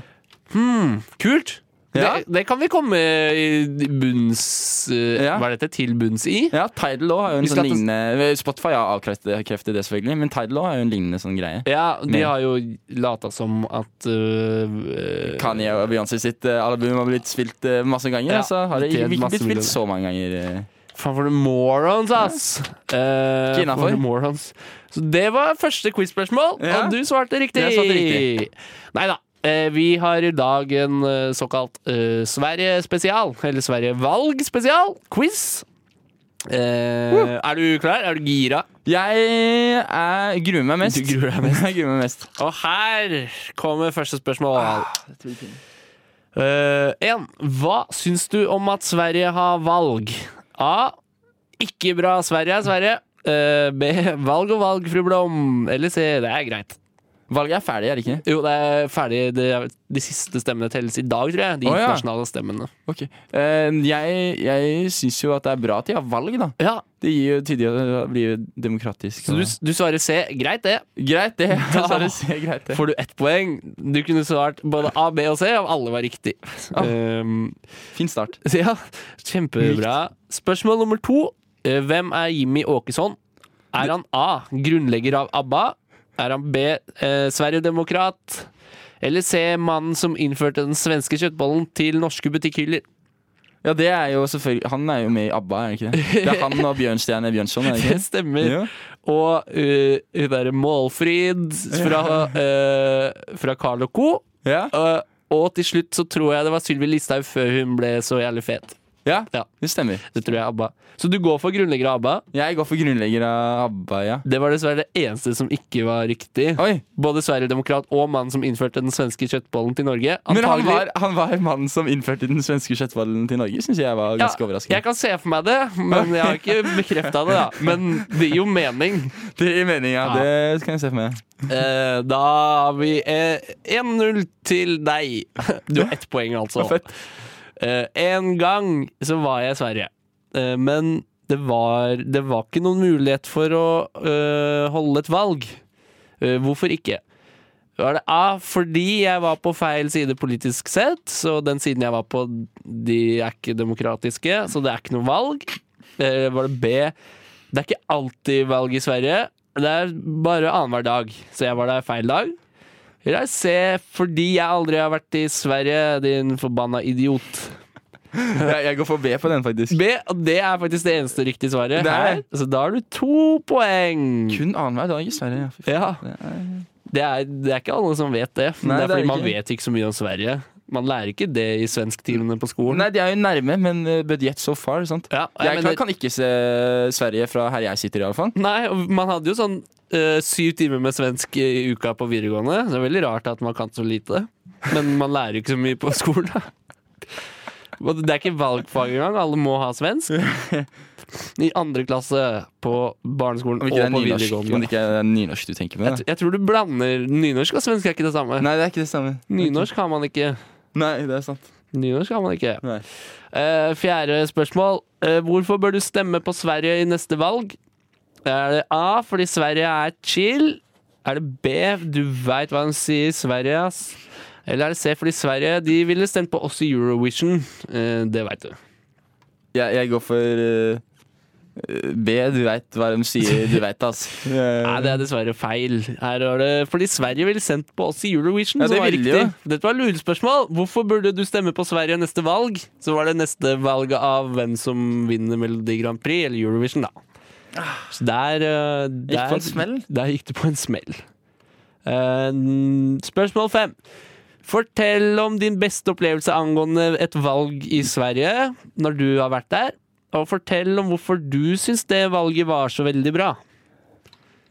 Kult! Ja. Det, det kan vi komme i bunns eh, Ja. Hva er dette? Til bunns i. Ja, Tidal også har jo en Vi skal sånn til- lignende Spotify har avkreftet avkreftet det, selvfølgelig, men Tidal også har jo en lignende sånn greie. Ja, de Men- har jo lata som at eh, Kanye og Beyoncé sitt eh, album har blitt spilt eh, masse Ja, ganger, og så har det tjent ikke, ikke masse blitt millioner. spilt så mange ganger. eh. Faen, for noen morons, ass! Eh, Ikke innenfor. for noen morons. Så det var første quiz-spørsmål, Ja. og du svarte riktig! Jeg svarte riktig. Nei da. eh, Vi har i dag en eh, såkalt eh, Sverige-spesial, eller Sverige-valg-spesial, quiz. Eh, Er du klar? Er du gira? Jeg er, gruer meg mest. Du gruer deg mest. [LAUGHS] jeg gruer meg mest. Og her kommer første spørsmål. Eh, En, hva syns du om at Sverige har valg? A. Ikke bra Sverige er Sverige. Eh, B. Valg og valg, fru Blom. Eller C. Det er greit. Valget er ferdig, er det ikke? Jo, det er ferdig. Det er, de siste stemmene telles i dag, tror jeg. De Å, ja. internasjonale stemmene. Ok. Eh, jeg jeg syns jo at det er bra at de har valg, da. Ja, Det gir jo tidligere å bli demokratisk. Så og- du, du svarer C. Greit, det. greit, [LAUGHS] det. Da- Så er det så greit, det. Får du ett poeng. Du kunne svart både A, B og C om alle var riktig. Ah. Um, Fin start. Så [LAUGHS] ja, kjempebra. Spørsmål nummer to. Eh, Hvem er Jimmy Åkesson? Er han A. Grunnlegger av ABBA? Er han B. Eh, Sverigedemokrat? Eller C. Mannen som innførte den svenske kjøttbollen til norske butikkhyller? Ja, det er jo selvfølgelig Han er jo med i ABBA, er det ikke det? Det er han og Bjørnstjerne Bjørnson, er det ikke Det [LAUGHS] det? stemmer. Ja. Og eh, hun derre Målfrid fra, eh, fra Carl Co. Ja. Eh, og til slutt så tror jeg det var Sylvi Listhaug før hun ble så jævlig fet. ja, Ja. det stemmer. Det tror jeg er ABBA. Så du går for grunnlegger av ABBA? Jeg går for grunnlegger av ABBA, ja. Det var dessverre det eneste som ikke var riktig. Oi, Både sverigedemokrat og mannen som innførte den svenske kjøttbollen til Norge. men han Antagelig- var, han var mannen som innførte den svenske kjøttballen til Norge, syns jeg var Ja, ganske overraskende. Jeg kan se for meg det, men jeg har ikke bekrefta det. da Men det gir jo mening. Det gir mening, ja. Det kan jeg se for meg. Eh, da har vi eh, 1-0 til deg. Du har ett poeng, altså. Fett. Eh, en gang så var jeg i Sverige, eh, men det var, det var ikke noen mulighet for å eh, holde et valg. Eh, hvorfor ikke? Var det A, fordi jeg var på feil side politisk sett, så den siden jeg var på, de er ikke demokratiske, så det er ikke noe valg. Eh, var det B, det er ikke alltid valg i Sverige, det er bare annenhver dag, så jeg var der feil dag. Eller er det C, fordi jeg aldri har vært i Sverige, din forbanna idiot. Jeg, jeg går for B på den, faktisk. B, og det er faktisk det eneste riktige svaret Det er her, så da har du to poeng. Kun annenhver dag, dessverre. Ja. Ja. Det er, det er ikke alle som vet det. Nei, det er det er fordi det man ikke. vet ikke så mye om Sverige. Man lærer ikke det i svensktimene på skolen. Nei, de er jo nærme, men uh, but yet so far. sant? Ja, jeg jeg mener- kan, kan ikke se Sverige fra her jeg sitter, iallfall. Nei, og man hadde jo sånn eh, syv timer med svensk i uka på videregående. Så det er veldig rart at man kan så lite. men man lærer jo ikke så mye på skolen. da. Og Det er ikke valgfag engang. Alle må ha svensk. I andre klasse på barneskolen Om og ikke det er på nynorsk, om det videregående. ikke er nynorsk du tenker på? Jeg, Da. tr- jeg tror du blander nynorsk og svensk. er ikke det samme. Nei, det er ikke det samme. Nynorsk har man ikke. Nei, det er sant. Nynorsk har man ikke. Nei. Eh, fjerde spørsmål. Eh, hvorfor bør du stemme på Sverige i neste valg? Er det A fordi Sverige er chill? Er det B du veit hva de sier i Sverige, ass? Eller er det C fordi Sverige de ville stemt på oss i Eurovision? Eh, det veit du. Jeg, jeg går for eh, B. Du veit hva de sier. Du veit, ass. Nei, det er dessverre feil. Her er det fordi Sverige ville sendt på oss i Eurovision. Ja, som det var ville de riktig. Dette var lurespørsmål. Hvorfor burde du stemme på Sverige i neste valg? Så var det neste valg av hvem som vinner Melodi Grand Prix eller Eurovision, da. Så der, eh, der på en smell? Der gikk det på en smell. Eh, spørsmål fem. Fortell om din beste opplevelse angående et valg i Sverige når du har vært der. Og fortell om hvorfor du syns det valget var så veldig bra.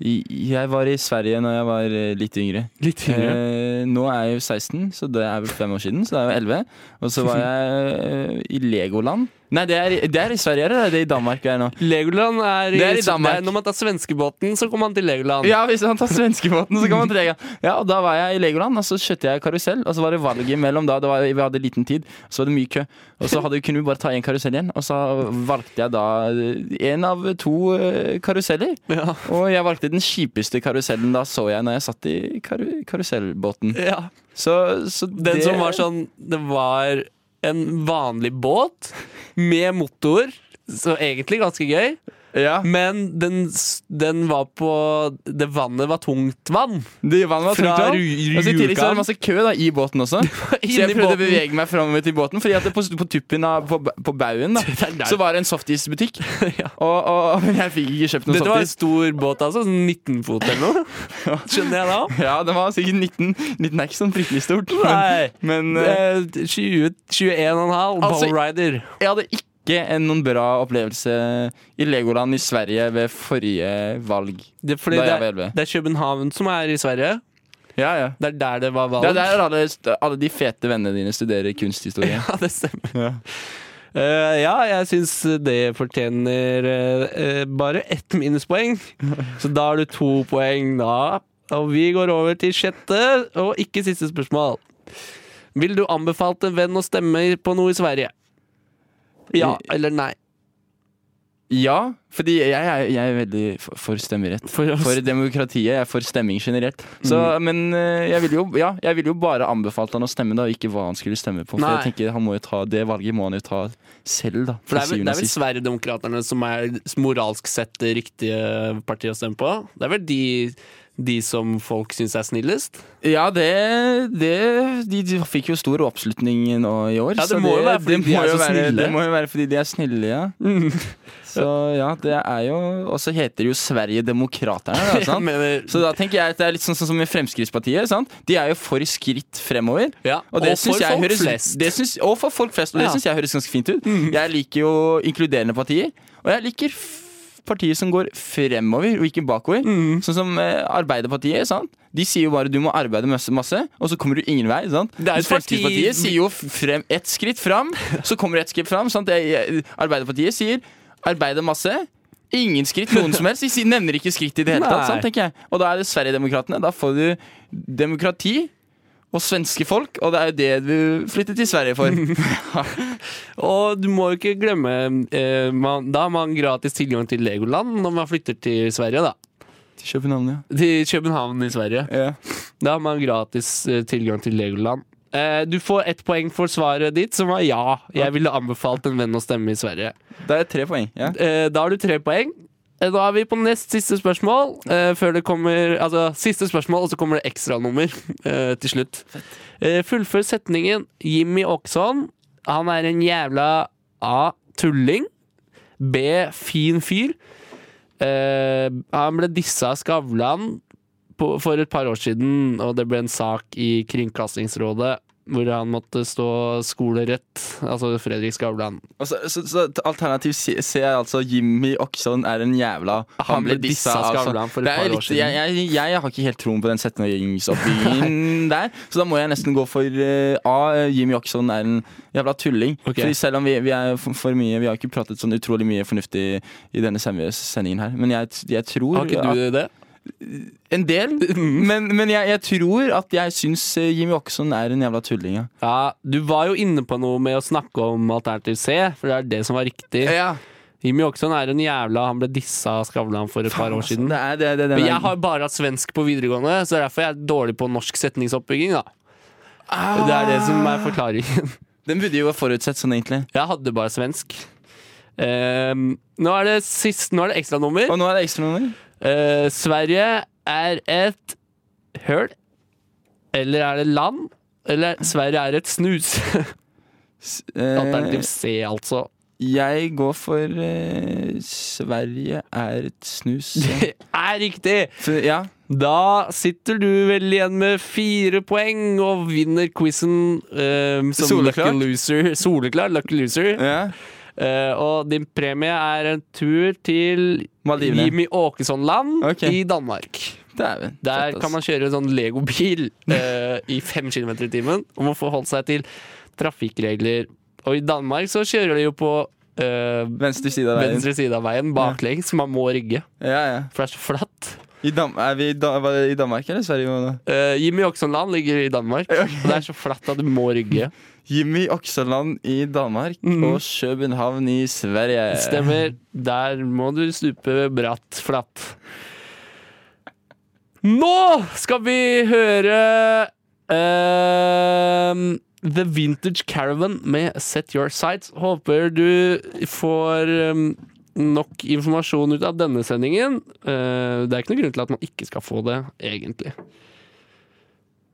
Jeg var i Sverige når jeg var eh, litt yngre. Litt Eh, nå er jeg jo 16, så det er vel fem år siden. Så det er jo 11. Og så var jeg eh, i Legoland. Nei, det er, det er i Sverige, eller er det i Danmark vi er nå? Legoland er i, Det er i Danmark. Når man tar svenskebåten, så kommer man til Legoland. Ja, hvis han tar svenskebåten, så kan man trege. Ja, og da var jeg i Legoland, og så kjøpte jeg karusell. Og så var det valget mellom da, det var, vi hadde liten tid, og så var det mye kø. Og så hadde, kunne vi bare ta én karusell igjen, og så valgte jeg da én av to eh, karuseller. [LAUGHS] Ja. Og jeg valgte den kjipeste karusellen da så jeg når jeg satt i karu karusellbåten. Ja. Så, så Den det- som var sånn Det var en vanlig båt med motor, så egentlig ganske gøy. Ja, Men den, s- den var på Det vannet var tungt vann. det vannet var Fra tungt. da. Ru- Og så I tillegg så var Rjukan. det masse kø da, i båten [LAUGHS] også. Så Inni jeg prøvde å båten. bevege meg framover til båten, Fordi at det på, på tuppen av på, på [LAUGHS] baugen da, er der. så var det en softisbutikk. [LAUGHS] Ja. og, og, men jeg fikk ikke kjøpt noen Dette var en softis. stor båt, altså. Sånn 19 fot eller noe. [LAUGHS] Skjønner jeg da? Ja, den var sikkert 19. 19 er ikke sånn fryktelig stort. Nei. Men, men eh, Eh, 20, 21,5. Altså- Ballrider. jeg hadde ikke en, noen bra opplevelse i Legoland i Sverige ved forrige valg. Det, er fordi Da jeg det, var er, elleve. det er København som er i Sverige. Ja, ja. Det er der det var valg. Det er der alle, alle de fete vennene dine studerer [LAUGHS] kunsthistorie. Ja, det stemmer. Ja. Eh, ja, jeg syns det fortjener eh, eh, bare ett [LAUGHS] minuspoeng. Så da har du to poeng, da. Og vi går over til sjette, og ikke siste spørsmål. Vil du anbefalt en venn å stemme på noe i Sverige? Ja eller nei? Ja, fordi jeg, er- jeg er veldig for, for stemmerett. For å- For demokratiet. Jeg er for stemming generelt. Så, Men eh, jeg ville jo, ja, jeg ville jo bare anbefalt han å stemme, da, og ikke hva han skulle stemme på. For Nei. jeg tenker han må jo ta Det valget må han jo ta selv, da. For det er, til vel- syvende det er og vel sist. Sverigedemokraterne som er moralsk sett det riktige partiet å stemme på? Det er vel de, de som folk syns er snillest? Ja, det, det de, de fikk jo stor oppslutning nå i år. Ja, det så Mm. må jo være fordi det de må er jo så være- snille. Det må jo være fordi de er snille, ja. Så ja, det er jo Og så heter det jo Sverigedemokraterne, [LAUGHS] da, [LAUGHS] sant? mener- Så da tenker jeg at det er litt sånn, sånn som i Fremskrittspartiet. Sant? De er jo for skritt fremover. Ja, Og, og det for synes jeg folk høres, flest. Det synes, og for folk flest. Og Ja. Mhm. det syns jeg høres ganske fint ut. Jeg liker jo inkluderende partier. Og jeg liker f- partier som går fremover og ikke bakover. Mhm. Sånn som eh, Arbeiderpartiet. Sant? De sier jo bare du må arbeide masse, masse og så kommer du ingen vei. Sant? Det er et Mens Fremskrittspartiet parti- sier jo f- frem ett skritt fram, så kommer ett skritt fram. Sant? Jeg, jeg, Arbeiderpartiet sier arbeide masse. Ingen skritt noen som helst. De sier- nevner ikke skritt i det hele tatt. Nei. Sant, tenker jeg. Og da er det Sverigedemokraterna. Da får du demokrati og svenske folk, og det er jo det du flyttet til Sverige for. Og du må jo ikke glemme eh, man, Da har man gratis tilgang til Legoland når man flytter til Sverige, da. til København, ja. Til København i Sverige. ja. Da har man gratis eh, tilgang til Legoland. Eh, du får ett poeng for svaret ditt, som var ja. Jeg ville anbefalt en venn å stemme i Sverige. Da er det tre poeng. Ja. Eh, da har du tre poeng. Eh, Da er vi på nest siste spørsmål. eh, Før det kommer, altså Siste spørsmål, og så kommer det ekstranummer [LAUGHS] eh, til slutt. Eh, Fullfør setningen. Jimmy Åkesson, han er en jævla A. Tulling. B. Fin fyr. Eh, han ble dissa av Skavlan på, for et par år siden, og det ble en sak i Kringkastingsrådet. hvor han måtte stå skolerett. Altså Fredrik Skavlan. Altså, så, så t- alternativ C, C er altså Jimmy Okson er en jævla altså. Han ble dissa av Skavlan for et Det er par år riktig. siden. Jeg, jeg, jeg har ikke helt troen på den [LAUGHS] setningsoppbyggingen der, så da må jeg nesten gå for eh, A. Jimmy Okson er en jævla tulling. Ok. Fordi selv om vi, vi er for, for mye Vi har ikke pratet sånn utrolig mye fornuftig i denne sem- sendingen her, men jeg, t- jeg tror Har ikke du Mm. det? at, En [LAUGHS] del, men, men jeg, jeg tror at jeg syns eh, Jimmy Okson er en jævla tulling, ja. Ja, Du var jo inne på noe med å snakke om alternativ C, for det er det som var riktig. Jimmy Åkesson er en jævla Han ble dissa av Skavlan for et par år siden. altså, Det er, det, det, det, Men jeg har bare hatt svensk på videregående, så det er derfor jeg er dårlig på norsk setningsoppbygging. da Det er det som er forklaringen. [LAUGHS] Den burde jo være forutsett sånn, egentlig. Jeg hadde bare svensk. Ehm, nå er det sist, nå er det ekstranummer. Og nå er det ekstranummer. Eh, Sverige er et høl. Eller er det land? Eller Sverige er et snus. [LAUGHS] Alternativ Eh, C, altså. [LAUGHS] jeg går for eh, Sverige er et [LAUGHS] snus. ja. Det er riktig! For, ja. Da sitter du vel igjen med fire poeng og vinner quizen eh, som Soleklart. lucky loser. Soleklart lucky loser. ja. Eh, og din premie er en tur til Maldivene. Jimmy Åkesson-land Ok. i Danmark. Dæven. Der Fett, ass. kan man kjøre en sånn legobil eh, i fem kilometer i timen og må forholde seg til trafikkregler. Og i Danmark så kjører de jo på eh, Venstre side av veien. venstre side av veien, baklengs. Man må rygge, Ja, ja. for det er så flatt. I Dam er vi i, da var det i Danmark eller Sverige nå? Eh, Jimmy Åkesson-land ligger i Danmark, og det er så flatt at du må rygge. Jimmy Oksaland i Danmark og København i Sverige. Mm. Stemmer. Der må du stupe bratt flatt. Nå skal vi høre ehm, The Vintage Caravan med Set Your Sights. Håper du får ehm, nok informasjon ut av denne sendingen. Eh, det er ikke noen grunn til at man ikke skal få det, egentlig.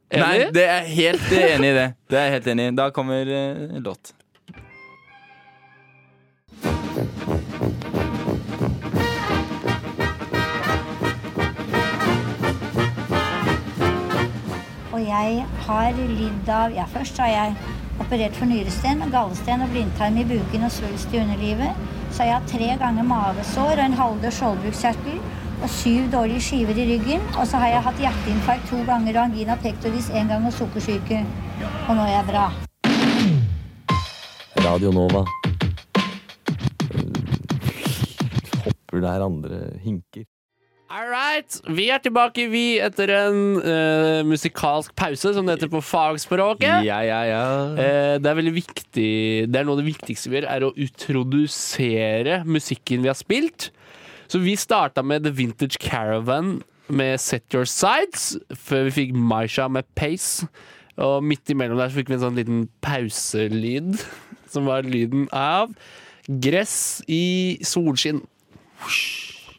Nei, Enig? det er helt enig i det. Det er jeg helt enig i. Da kommer eh, låt. Og jeg har lidd av Ja, først har jeg operert for nyresten, gallesten og blindtarm i buken og svulst i underlivet. Så har jeg hatt tre ganger mavesår og en halvdød skjoldbruskkjertel og syv dårlige skiver i ryggen. Og så har jeg hatt hjerteinfarkt to ganger og angina pectoris én gang og sukkersyke. Og nå er jeg bra. Radio Nova. Eh, Hopper der andre hinker. All right, vi er tilbake, vi, etter en eh, musikalsk pause, som det heter på fagspråket. Ja, ja, ja. Eh, det er veldig viktig Det er noe av det viktigste vi gjør, er å utrodusere musikken vi har spilt. Så vi starta med The Vintage Caravan med Set Your Sides, før vi fikk Maisha med Pace. Og midt imellom der så fikk vi en sånn liten pauselyd, som var lyden av gress i solskinn.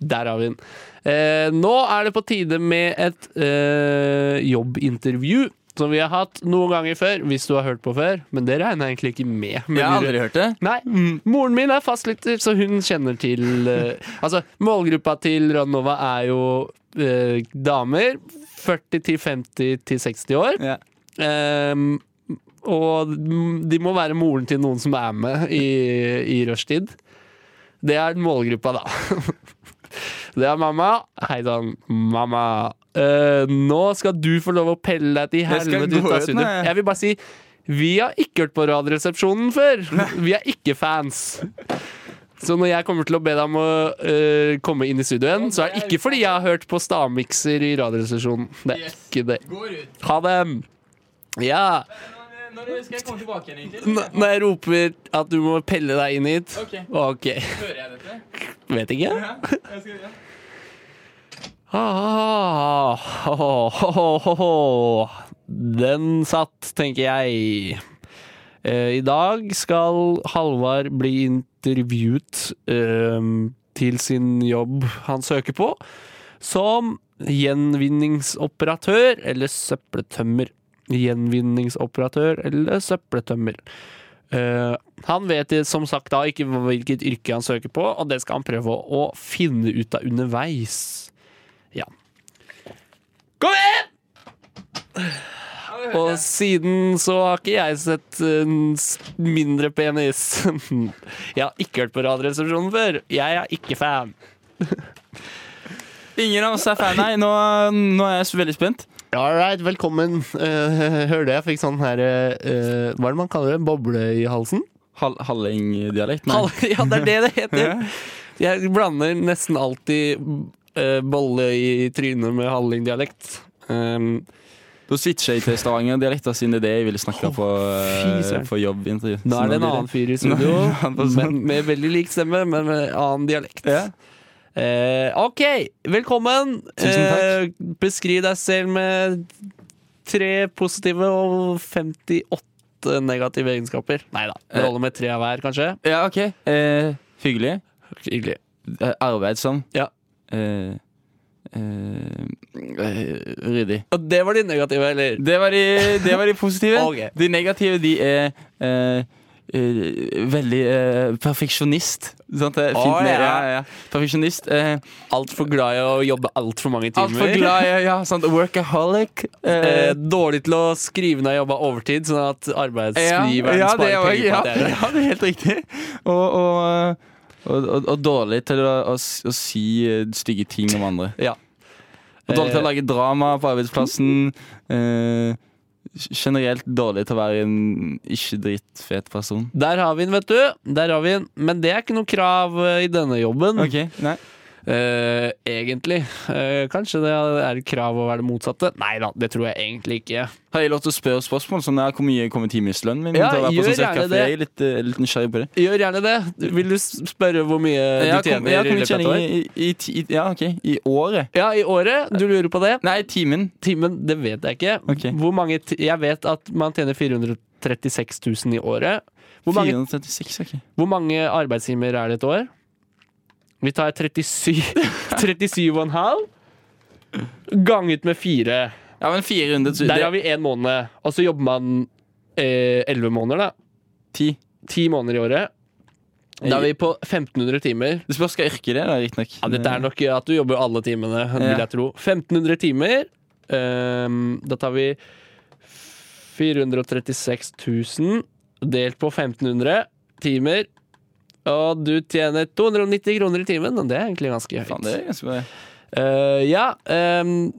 Der har vi den. Eh, nå er det på tide med et eh, jobbintervju. Som vi har hatt noen ganger før, hvis du har hørt på før. Men det regner jeg egentlig ikke med. Men Jeg har dere- aldri hørt det. Nei, Moren min er fastlytter, så hun kjenner til eh, Altså, målgruppa til Radnova er jo eh, damer. 40 til 50 til 60 år. Ja. Ehm, og de må være moren til noen som er med i, i rushtid. Det er målgruppa, da. [LAUGHS] Det er mamma. Hei sann, mamma. Eh, nå skal du få lov å pelle deg til Jeg skal helvete gå ut av ut studio. nå, jeg. Jeg vil bare si vi har ikke hørt på Radioresepsjonen [LAUGHS] før. Vi er ikke fans. Så når jeg kommer til å be deg om å eh, komme inn i studio igjen, så er det ikke fordi jeg har hørt på stavmikser i Radioresepsjonen. Det er ikke det. Ha det! Ja. Når skal jeg komme tilbake igjen, egentlig? N- Når jeg roper at du må pelle deg inn hit. Ok. Ok. [LAUGHS] Hører jeg dette? Vet ikke. Ja, jeg skal, ja. Ah, [LAUGHS] ho, ho, ho, ho, ho. Den satt, tenker jeg. Eh, I dag skal Halvard bli intervjuet eh, til sin jobb han søker på, som gjenvinningsoperatør eller søppeltømmer. Gjenvinningsoperatør eller søppeltømmer. Eh, han vet i- som sagt da ikke hvilket yrke han søker på, og det skal han prøve å, å finne ut av underveis. Ja. Kom igjen! Ja, det Og siden så har ikke jeg sett en s- mindre penis. [LAUGHS] Jeg har ikke hørt på Radioresepsjonen før. Jeg er ikke fan. Ingen av oss er fan, nei. Nå, nå er jeg så veldig spent. All right, velkommen. [LAUGHS] Uh, hørte jeg fikk sånn her eh, Hva er det man kaller det? Boble i halsen? Hall Hallengdialekt? Nei. Hal- [LAUGHS] Ja, det er det det heter. Jeg blander nesten alltid eh, bolle i trynet med hallingdialekt. Um, Da switcher jeg til Stavanger-dialekt, da, siden det er det jeg ville snakke på, eh, fy søren. på jobbintervju. nå er det en annen fyr i [LAUGHS] studio Nå er det en annen person. men med veldig lik stemme, men med annen dialekt. Ja. Eh, OK, velkommen. Tusen takk. Eh, beskriv deg selv med tre positive og 58 negative egenskaper. Nei da, det holder med tre av hver, kanskje. ja, OK. Eh, hyggelig. Hyggelig. Eh, Arbeidsom. Ja. Eh, eh, eh, ryddig. Og det var de negative, eller? Det var de, det var de positive. [LAUGHS] Ok. De negative de er eh, eh, veldig eh, perfeksjonist. Sant? Det er Fint Å, med, ja. ja. Ja, Perfeksjonist. Eh, Altfor glad i å jobbe altfor mange timer. Altfor glad i ja, sant? workaholic. [LAUGHS] Eh, Eh, dårlig til å skrive ned jobba overtid, sånn at arbeidsgiveren ja, det sparer var- penger på ja, at det er det. [LAUGHS] Ja, det er helt riktig. Og, og, eh, og, og, og dårlig til å, å, s- å si eh, stygge ting om andre. Ja. Og dårlig til å Eh, lage drama på arbeidsplassen. Eh, generelt dårlig til å være en ikke dritfet person. Der har vi den, vet du. Der har vi den. Men det er ikke noe krav eh, i denne jobben, Ok, nei eh, egentlig. Eh, kanskje det er et krav å være det motsatte. Nei da, det tror jeg egentlig ikke. Har jeg lov til å spørre spørsmål? Sånn, ja, hvor mye kommer timeslønnen min Ja, til å være på gjør sånn cirka? gjerne For jeg er litt, eh, litt nysgjerrig på det. Gjør gjerne det. Vil du s- spørre hvor mye Ja, du hvor- tjener i ja, hvor løpet av mye et tjener år? jeg i, i, ti- i, ja, ok, i året? Ja, i året. Du lurer på det? Nei, timen. Timen, det vet jeg ikke. Ok. Hvor mange ti- jeg vet at man tjener 436 000 i året. Hvor mange 436, ok. Hvor mange arbeidstimer er det et år? Vi tar 37 [LAUGHS] 37,5 ganget med fire. Ja, men 400 000 Der har vi én måned. Og så jobber man eh, elleve måneder, da. Ti. Ti måneder i året. Da er vi på 1500 timer. Det spørs hva yrke det er, da, riktignok. Ja, dette er nok at du jobber alle timene, vil Ja. jeg tro. 1500 timer. Ehm, da tar vi 436 000 delt på 1500 timer. Og du tjener 290 kroner i timen, og det er egentlig ganske høyt. Faen, det er ganske bra. Eh, ja, ehm,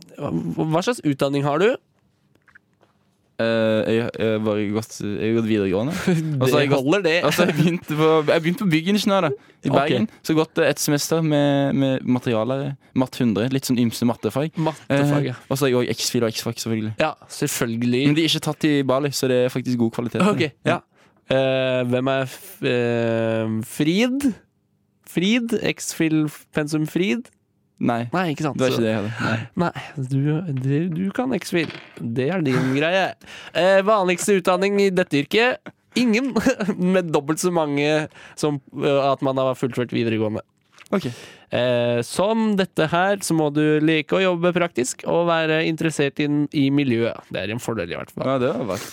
hva slags utdanning har du? Eh, jeg, jeg, har bare gått, jeg har gått [LAUGHS] videregående. Og så har [LAUGHS] jeg, Det gått- holder det. og så har jeg begynt på, jeg begynte på byggingeniør da, i Ok. Bergen. Så gått eh, et semester med, med materialer. Matt 100. Litt sånn ymse mattefag. Eh, Mattefaget. og så har jeg òg X-Fil og X-Fac, selvfølgelig. Ja, selvfølgelig. Men de er ikke tatt i Bali, så det er faktisk god kvalitet. Ok, ja. Eh, hvem er f eh, Frid? Frid? X-Fil Pensum Frid? Nei, Nei, ikke sant. det var så- ikke det jeg hadde. Nei. Nei, du, du, du kan X-Fil. Det er din greie. Eh, vanligste utdanning i dette yrket? Ingen. [LAUGHS] Med dobbelt så mange som eh, at man har fullført videregående. Ok. Eh, som dette her, så må du like å jobbe praktisk og være interessert inn i miljøet. Det er en fordel, i hvert fall. Ja, det var vagt.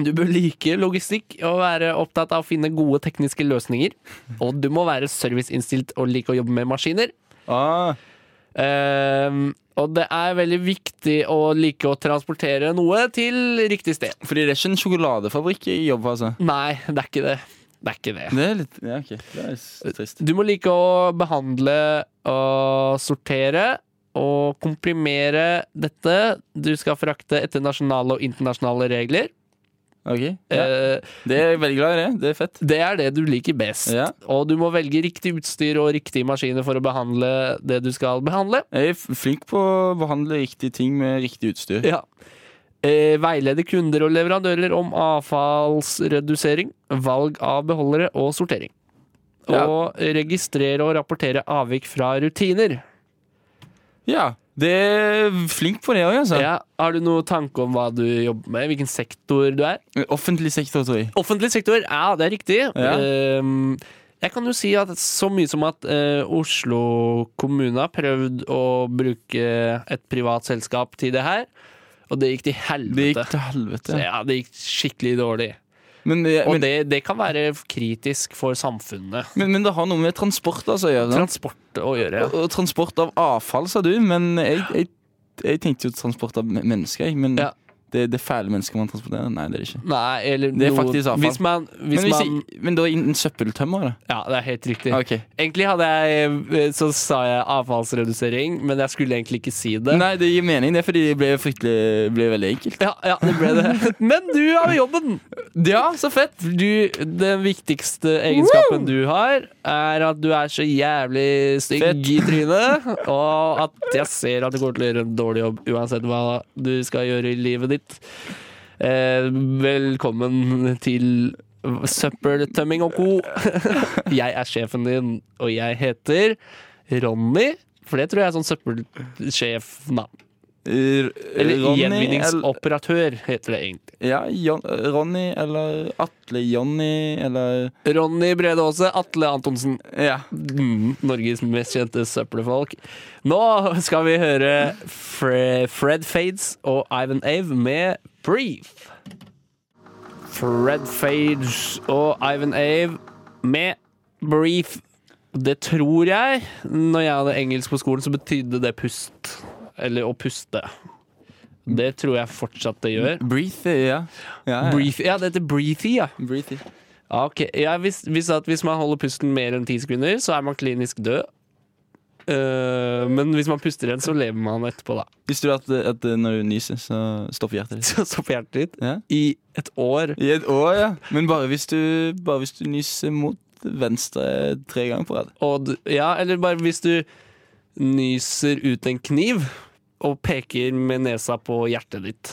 Du bør like logistikk og være opptatt av å finne gode tekniske løsninger. Og du må være serviceinnstilt og like å jobbe med maskiner. Ah, Ehm, og det er veldig viktig å like å transportere noe til riktig sted. fordi det er ikke en sjokoladefabrikk jeg jobber på, altså. Nei, det er ikke det. Det er ikke det. Det er litt Ja, OK. Det er s- trist. Du må like å behandle og sortere og komprimere dette. Du skal frakte etter nasjonale og internasjonale regler. Ok, ja. Eh, Det er jeg veldig glad i det. Det er fett. Det er det du liker best. Ja. Og du må velge riktig utstyr og riktige maskiner for å behandle det du skal behandle. Jeg er f- flink på å behandle riktige ting med riktig utstyr. [LAUGHS] Ja. Eh, veilede kunder og leverandører om avfallsredusering, valg av beholdere og sortering. Ja. Og registrere og rapportere avvik fra rutiner. Ja, det er flink på det òg, altså. Ja. Har du noen tanke om hva du jobber med? Hvilken sektor du er? Offentlig sektor, tror jeg. Offentlig sektor, ja, det er riktig. Ja. Ehm, jeg kan jo si at så mye som at eh, Oslo kommune har prøvd å bruke et privat selskap til det her, og det gikk til Det gikk helvete. til Så helvete. ja, det gikk skikkelig dårlig. Men, det- Og men, det, det kan være kritisk for samfunnet. men, men det har noe med transport altså, å gjøre. sant? Transport å gjøre. Og, og transport av avfall, sa du, men jeg, jeg, jeg tenkte jo transport av men- mennesker. jeg, Men Ja. det, det fæle mennesket man transporterer? Nei, det er det ikke. Nei, eller Det er noe- faktisk avfall. Hvis man, hvis men, hvis man jeg, men da i en søppeltømmer, da? Ja, det er helt riktig. Ok. Egentlig hadde jeg eh, Så sa jeg avfallsredusering, men jeg skulle egentlig ikke si det. Nei, det gir mening, det er fordi det ble fryktelig ble veldig enkelt. Ja, ja, det ble [LAUGHS] det. Men du har jobben! Ja, så fett. Du, den viktigste egenskapen du har, er at du er så jævlig stygg Fett. i trynet, og at jeg ser at du kommer til å gjøre en dårlig jobb uansett hva du skal gjøre i livet ditt. Eh, velkommen til Søppeltømming og co. [LAUGHS] Jeg er sjefen din, og jeg heter Ronny. For det tror jeg er sånn søppelsjefnavn. R- Eller Ronny, gjenvinningsoperatør, heter det egentlig. eller- Ja, Jon, Ronny eller Atle Jonny eller Ronny Brede Aase, Atle Antonsen. Ja. Mm, Norges mest kjente søppelfolk. Nå skal vi høre Fre Fred Fades og Ivan Ave med Brief. Fred Fades og Ivan Ave med Brief. Det tror jeg. Når jeg hadde engelsk på skolen, så betydde det pust. Eller å puste. Det tror jeg fortsatt det gjør. Breathe, ja. ja, ja. Brief, ja, det heter breathy, ja. Breathe. ja ok. ja, hvis, hvis, at hvis man holder pusten mer enn ti sekunder, så er man klinisk død. Eh, men hvis man puster igjen, så lever man etterpå, da. [LAUGHS] Visste du at, at når du nyser, så stopper hjertet ditt? Så stopper hjertet ditt Ja. i et år. I et år, ja. Men bare hvis du, bare hvis du nyser mot venstre tre ganger på rad. Og du, ja, eller bare hvis du nyser ut en kniv og peker med nesa på hjertet ditt.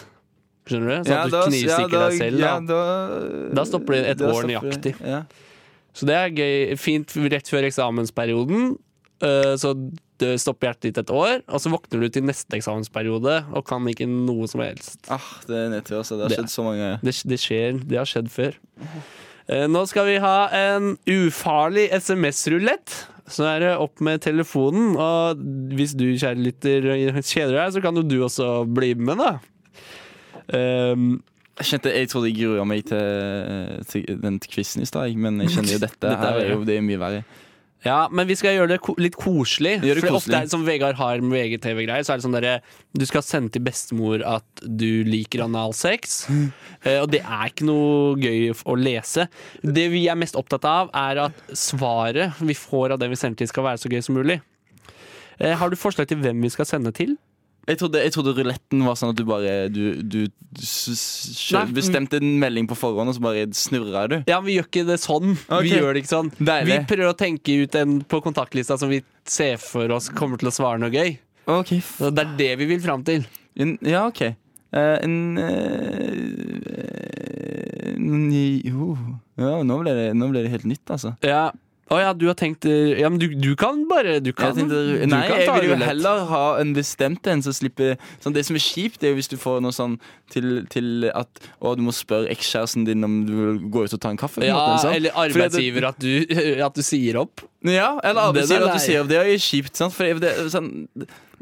Skjønner du? Sånn at du knivstikker deg selv. Da. Ja, da, Da stopper det et da år stopper det. nøyaktig. Ja. Så det er gøy. Fint rett før eksamensperioden. eh, Så dø- stopper hjertet ditt et år, og så våkner du til neste eksamensperiode og kan ikke noe som helst. Ah, det er nedtur, altså. Det har Det- skjedd så mange ganger. Det, det skjer. Det har skjedd før. Eh, Nå skal vi ha en ufarlig SMS-rulett. Så er det opp med telefonen, og hvis du, kjære lytter, kjeder deg, så kan jo du også bli med, da. Um, Jeg kjente, jeg trodde jeg grua meg til, til den quizen i stad, jeg, men jeg [LAUGHS] kjenner jo dette. Dette er her er verre. jo, det er jo mye verre. Ja, men vi skal gjøre det ko litt koselig. Gjør det For koselig. ofte er det som Vegard har med VGTV-greier, så er det sånn derre Du skal sende til bestemor at du liker [LAUGHS] analsex. Eh, og det er ikke noe gøy f- å lese. Det vi er mest opptatt av, er at svaret vi får av den vi sender til, skal være så gøy som mulig. Eh, har du forslag til hvem vi skal sende til? Jeg trodde, jeg trodde ruletten var sånn at du bare Du, du, s- Nei, s- mm. sjø- men- bestemte en melding på forhånd, og så bare snurra du. Ja, men vi gjør ikke det sånn. Ok. Vi gjør det ikke sånn. Vi Deilig. prøver å tenke ut en på kontaktlista som vi ser for oss kommer til å svare noe gøy. Ok, Så det er det vi vil fram til. en, Ja, OK. Eh, en eh, en ny- jo. Ja, nå ble, det, nå ble det helt nytt, altså. Ja. Å ja, du har tenkt eh, Ja, men du, du kan bare Du kan, Jeg tenkte, du nei, kan jeg ta vil jo rulett. heller ha en bestemt en som slipper sånn, Det som er kjipt, det er jo hvis du får noe sånn til, til at Å, du må spørre ekskjæresten din om du vil gå ut og ta en kaffe. på en Ja, måte, sant? eller Fordi at det- arbeidsgiver at [LAUGHS] du, at du sier opp. Ja, eller Den er arbeidsgiver at lei. du sier opp. Det er jo kjipt. Sant? For det, det- sånn,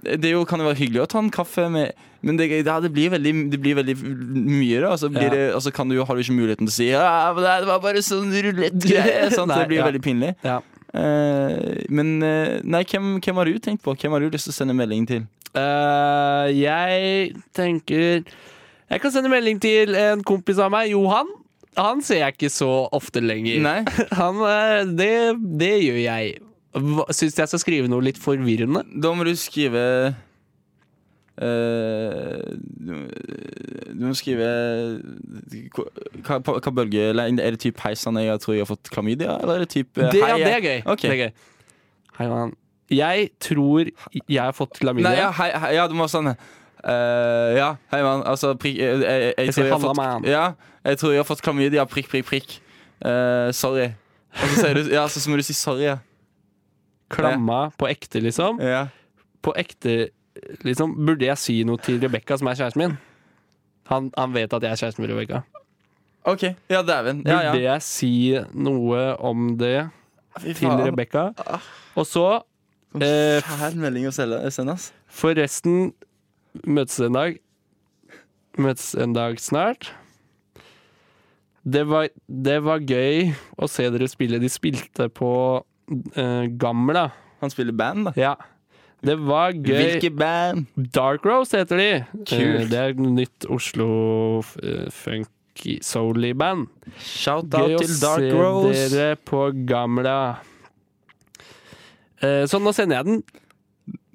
det er jo, kan jo være hyggelig å ta en kaffe, med, men det, ja, det, blir veldig, det blir veldig mye, da. Og så, blir Ja. det, og så kan du, jo- har du ikke muligheten til å si ja, men det var bare sånn rulettgreie. sant? Nei, Det [LAUGHS] blir ja. veldig pinlig. Ja. Eh, men eh, nei, hvem, hvem har du tenkt på? Hvem har du lyst til å sende melding til? Eh, jeg tenker Jeg kan sende melding til en kompis av meg, Johan. Han ser jeg ikke så ofte lenger. Nei. [LAUGHS] Han, eh, det, det gjør jeg. Hva- Syns jeg skal skrive noe litt forvirrende? Da må du skrive eh, du du må skrive Hva, hva hva bølge Er det type 'hei sann, jeg tror jeg har fått klamydia'? Eller er det type Det, ja, hei, det er jeg- gøy. Ok. Det er gøy. Hei, Johan. Jeg tror jeg har fått klamydia. Nei, ja, hei, hei, ja, du må sånn eh, Ja, hei, mann. Altså, prikk Jeg, jeg, jeg, Jeg tror sier jeg har halla, fått mann. Ja, jeg tror jeg har fått klamydia. Prikk, prikk, prikk. Eh, sorry. Og så sier du Ja, så, så må du si sorry, ja. Klamma på ekte, liksom. ja. på ekte liksom, Burde jeg si noe til Rebekka, som er kjæresten min? Han, han vet at jeg er kjæresten med Rebekka. OK. Ja, dæven. Burde Ja, ja. jeg si noe om det Fy til faen. Ah. Rebekka? Og så, eh, Fæl melding å selge- sende, ass. forresten, møtes en dag. Møtes en dag snart. Det var, det var gøy å se dere spille. De spilte på eh, Gamla. Han spiller band, da. Ja. Det var gøy. Hvilke band? Dark Rose heter de. Kult. Eh, Det er et nytt Oslo eh, funky soul band. Shout-out Gøy å til Dark se Rose. dere på gamla. Eh, Så nå sender jeg den.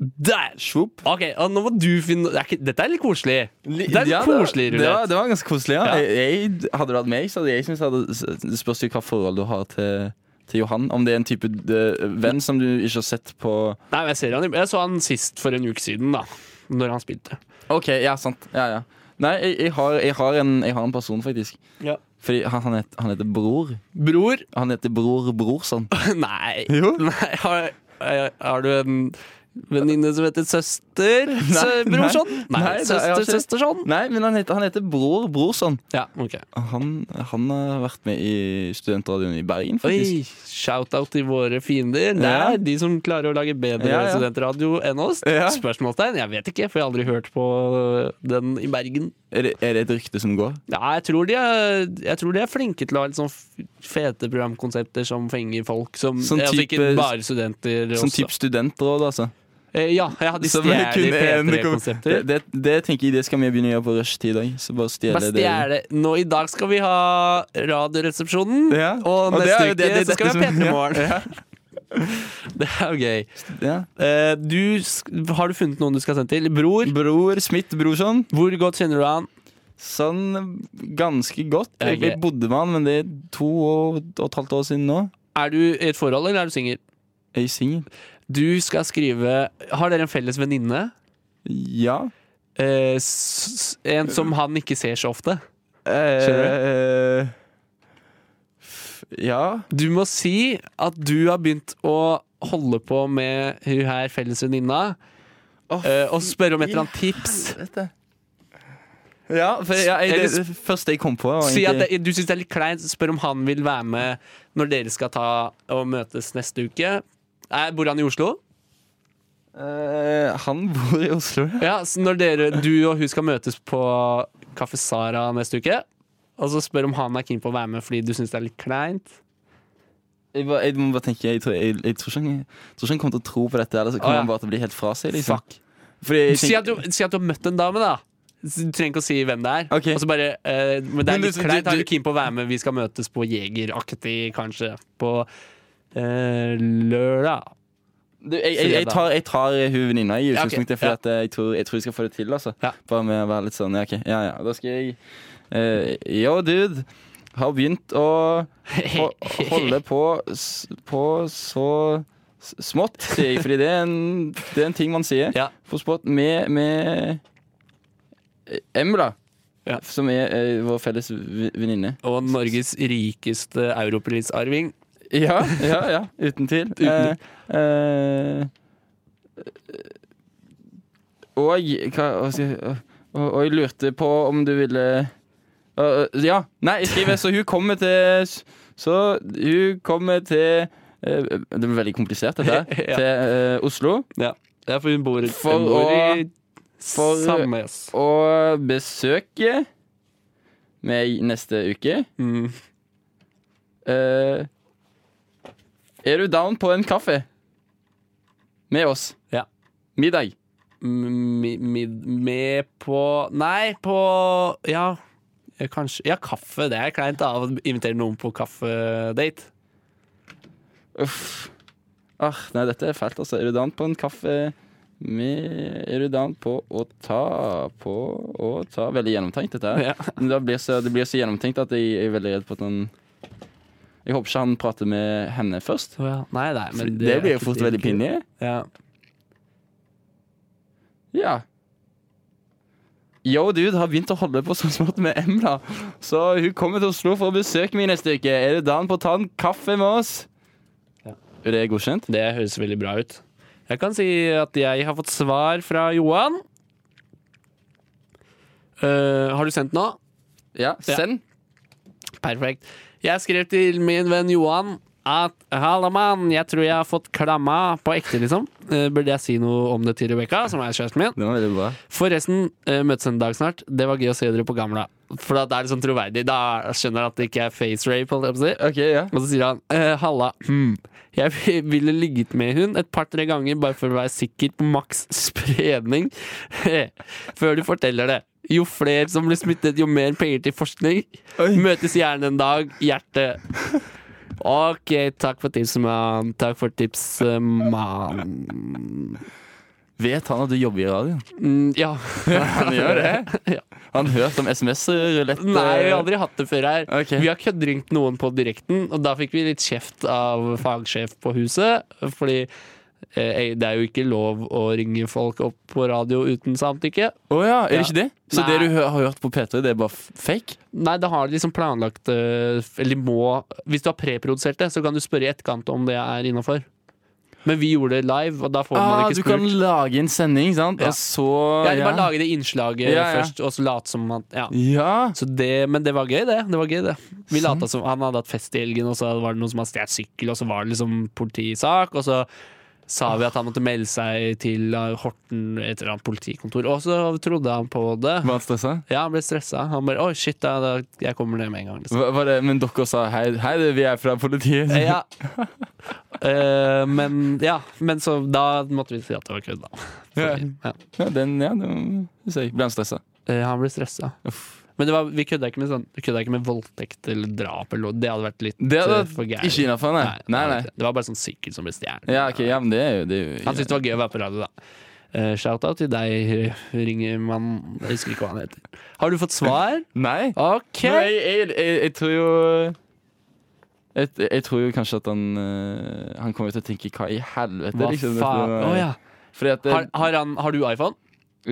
Der! Svopp. Ok, og nå må du finne det er ikke, Dette er litt koselig. Det er litt Ja, koselig, det, Rune. var, det var ganske koselig, ja. Ja. Jeg, jeg, hadde du hatt meg, så hadde jeg syntes det hadde- Det spørs jo hva forhold du har til, til Johan. Om det er en type eh, venn som du ikke har sett på Nei, men jeg, ser han, i- jeg så han sist for en uke siden, da. Når han spilte. OK, ja, sant. Ja, ja. Nei, jeg, jeg, har, jeg, har, en, jeg har en person, faktisk. Ja. Fordi han, han, het, han heter Bror. Bror? Han heter Bror [LAUGHS] Brorson. [COUGHS] Nei. Jo. Nei har, eh, har du en venninne som heter [LAUGHS] søster? Sø- Brorson? Nei, Nei, det- jeg har søster, ikke- søsterson? Nei, men han heter, han heter Bror Brorson. Ja, ok. Han, han har vært med i studentradioen i Bergen, faktisk. Oi, shout-out til våre fiender. Det Ja. er de som klarer å lage bedre Ja, ja. studentradio enn oss. Ja. Spørsmålstegn? Jeg vet ikke, for jeg har aldri hørt på den i Bergen. Er, det, er det et rykte som går? Ja, jeg, tror de er, jeg tror de er flinke til å ha litt sånn f- fete programkonsepter som fenger folk. Som, Sånn altså ikke type- bare studenter. Som også. type studentråd, altså. Eh, Ja, ja, de Som stjeler kun en- P3-konsepter. Det, det, det tenker jeg det skal vi begynne å gjøre på rushtid òg. Så bare stjele Basti det. er det. Nå I dag skal vi ha Radioresepsjonen, Ja. og Og det neste er jo uke det- det- så skal vi ha dette som- P3 Morgen. [LAUGHS] Det er jo gøy. Ja. Eh, du, sk- har du funnet noen du skal sende til? Bror, Bror Smith Brorson. hvor godt kjenner du han? Sånn ganske godt. Jeg, Ok. jeg bodde med han, men det er to og, og et halvt år siden nå. Er du i et forhold, eller er du singel? Er jeg singel? Du skal skrive Har dere en felles venninne? Ja. Eh, s- s- en som han ikke ser så ofte? Skjønner du? Eh, Ja. Du må si at du har begynt å holde på med hun her felles venninna, Å, eh, og spørre om et eller annet tips. Dette. Ja, for jeg, jeg, det, det første jeg kom på, var Si at egentlig det, du syns det er litt kleint, spør om han vil være med når dere skal ta og møtes neste uke. Eh, Bor han i Oslo? Eh, Han bor i Oslo, ja. Ja, så når dere, du og hun skal møtes på Kaffe Sara neste uke, og så spør om han er keen på å være med fordi du syns det er litt kleint. Jeg, bare, jeg må bare tenke, jeg tror, jeg, jeg, tror ikke han, jeg tror ikke han kommer til å tro på dette, eller så Å, kommer ja. han bare til å bli helt fra seg. Liksom. Fuck. Fordi jeg Si tenker- at, du, si at du har møtt en dame, da. Du trenger ikke å si hvem det er. Ok. Og så bare, eh, men det Men er du- litt kleint. du- Er du- du keen på å være med? Vi skal møtes på Jegeraktig, kanskje. På eh, lørdag. du, jeg, jeg, jeg, tar, jeg tar hun venninna i Ja, ok. utgangspunktet, for Ja. at, eh, jeg, tror, jeg tror jeg skal få det til. Altså. Ja. Bare med å være litt sånn ja, ok, ja, ja. Da skal jeg eh, Yo, dude. Har begynt å [LAUGHS] ho holde på, s- på så s- smått, sier jeg. Fordi det er en, det er en ting man sier. Ja. På smått med, med Emla, Ja. som er eh, vår felles v- venninne. Og Norges rikeste europrisarving. Ja, ja, ja, uten tvil. Uten- Eh, eh, og, hva, hva skal, jeg- og, og jeg lurte på om du ville Eh, Ja, nei, jeg skriver så hun kommer til Så hun kommer til eh, Det blir veldig komplisert, dette [LAUGHS] her. Ja. Til eh, Oslo. Ja. Det er for hun bor, For hun bor i å- for- Sandnes. Og besøke meg neste uke. Mm. Eh, er du down på en kaffe? Med oss. Ja. Middag. mi, mi, med på Nei, på Ja, eh, kanskje Ja, kaffe. Det er kleint da, å invitere noen på kaffedate. Uff. Ah, nei, dette er fælt, altså. Er du down på en kaffe med Er du down på å ta på å ta Veldig gjennomtenkt, dette her. Ja. [LAUGHS] Men det blir, så, det blir så gjennomtenkt at jeg, jeg er veldig redd for at han Jeg håper ikke han prater med henne først. Så, ja. Nei, nei, men det, blir er jo fort ikke- veldig pinlig. Ja. Ja. Yo, dude har begynt å holde på sånn så smått med Emla. Så hun kommer til Oslo for å besøke meg neste uke. Er det dagen på å ta en kaffe med oss? Er det godkjent? Det høres veldig bra ut. Jeg kan si at jeg har fått svar fra Johan. Eh, har du sendt noe? Ja, send. Perfekt. Jeg skrev til min venn Johan at Halla, mann, jeg tror jeg har fått klamma på ekte, liksom. Eh, Burde jeg si noe om det til Rebekka, som er kjæresten min? Den var veldig bra. Forresten, eh, møtes en dag snart. Det var gøy å se dere på Gamla. For da er det sånn troverdig. Da skjønner jeg at det ikke er face rape. Holdt jeg på å si. Ok, ja. Og så sier han eh, Halla, hmm. jeg [LAUGHS] ville ligget med hun et par-tre ganger bare for å være sikker på maks spredning [LAUGHS] før du forteller det. Jo flere som blir smittet, jo mer penger til forskning. Oi. Møtes gjerne en dag, hjerte. Ok, takk for tips, mann. Takk for tips, eh, mann. Vet han at du jobber i radioen? Mm, ja. [LAUGHS] Han gjør det? Han hørt om eh, SMS-er lett? Nei, vi har aldri hatt det før her. Ok. Vi har køddringt noen på direkten, og da fikk vi litt kjeft av fagsjef på huset. Fordi eh, det er jo ikke lov å ringe folk opp på radio uten samtykke. Å ja, er det ikke det? Så Nei. det du hø- har hørt på P3, det er bare f- fake? Nei, da har de liksom planlagt eh, Eller må Hvis du har preprodusert det, så kan du spørre i etterkant om det er innafor. Men vi gjorde det live, og da får man Ah, ikke du spurt. kan lage en sending, sant? Ja. Og så Ja, eller bare lage det innslaget Ja, ja. først, og så late som at ja. ja. Så det, men det var gøy, det. det, var gøy, det. Vi Sant. lata som Han hadde hatt fest i helgen, og så var det noen som hadde stjålet sykkel, og så var det liksom politisak, og så sa vi at han måtte melde seg til eh, Horten, et eller annet politikontor, og så trodde han på det. Var han stressa? Ja, han ble stressa. Han bare 'Oi, shit, da, da, jeg kommer ned med en [LAUGHS] gang'. Liksom. Hva- var det, men dere sa hei, hei det, vi er fra politiet. Eh, Ja. Eh, men ja, men så da måtte vi si at det var kødd, da. Ja. Fordi, ja. Ja, den, ja, den ser jeg. Ble han stressa? Eh, han ble stressa. Men det var, vi kødda ikke med sånn Vi kødda ikke med voldtekt eller drap eller noe. Det hadde vært litt Det hadde eh, vært for gærent. ikke innafor, nei. Nei, nei. Det var bare sånn sykkel som ble stjålet. Ja, ok, ja, men det er jo, det er jo Han syntes det var gøy å være på radio, da. Eh, Shout-out til deg, eh, Ringemann. Jeg husker ikke hva han heter. Har du fått [LAUGHS] svar? Nei. OK! Nei, jeg, jeg, jeg, jeg tror jo jeg, jeg tror jo kanskje at han eh, Han kommer jo til å tenke hva i helvete, Hva liksom. faen? Å ja. Fordi at det, har, har, han, har du iPhone?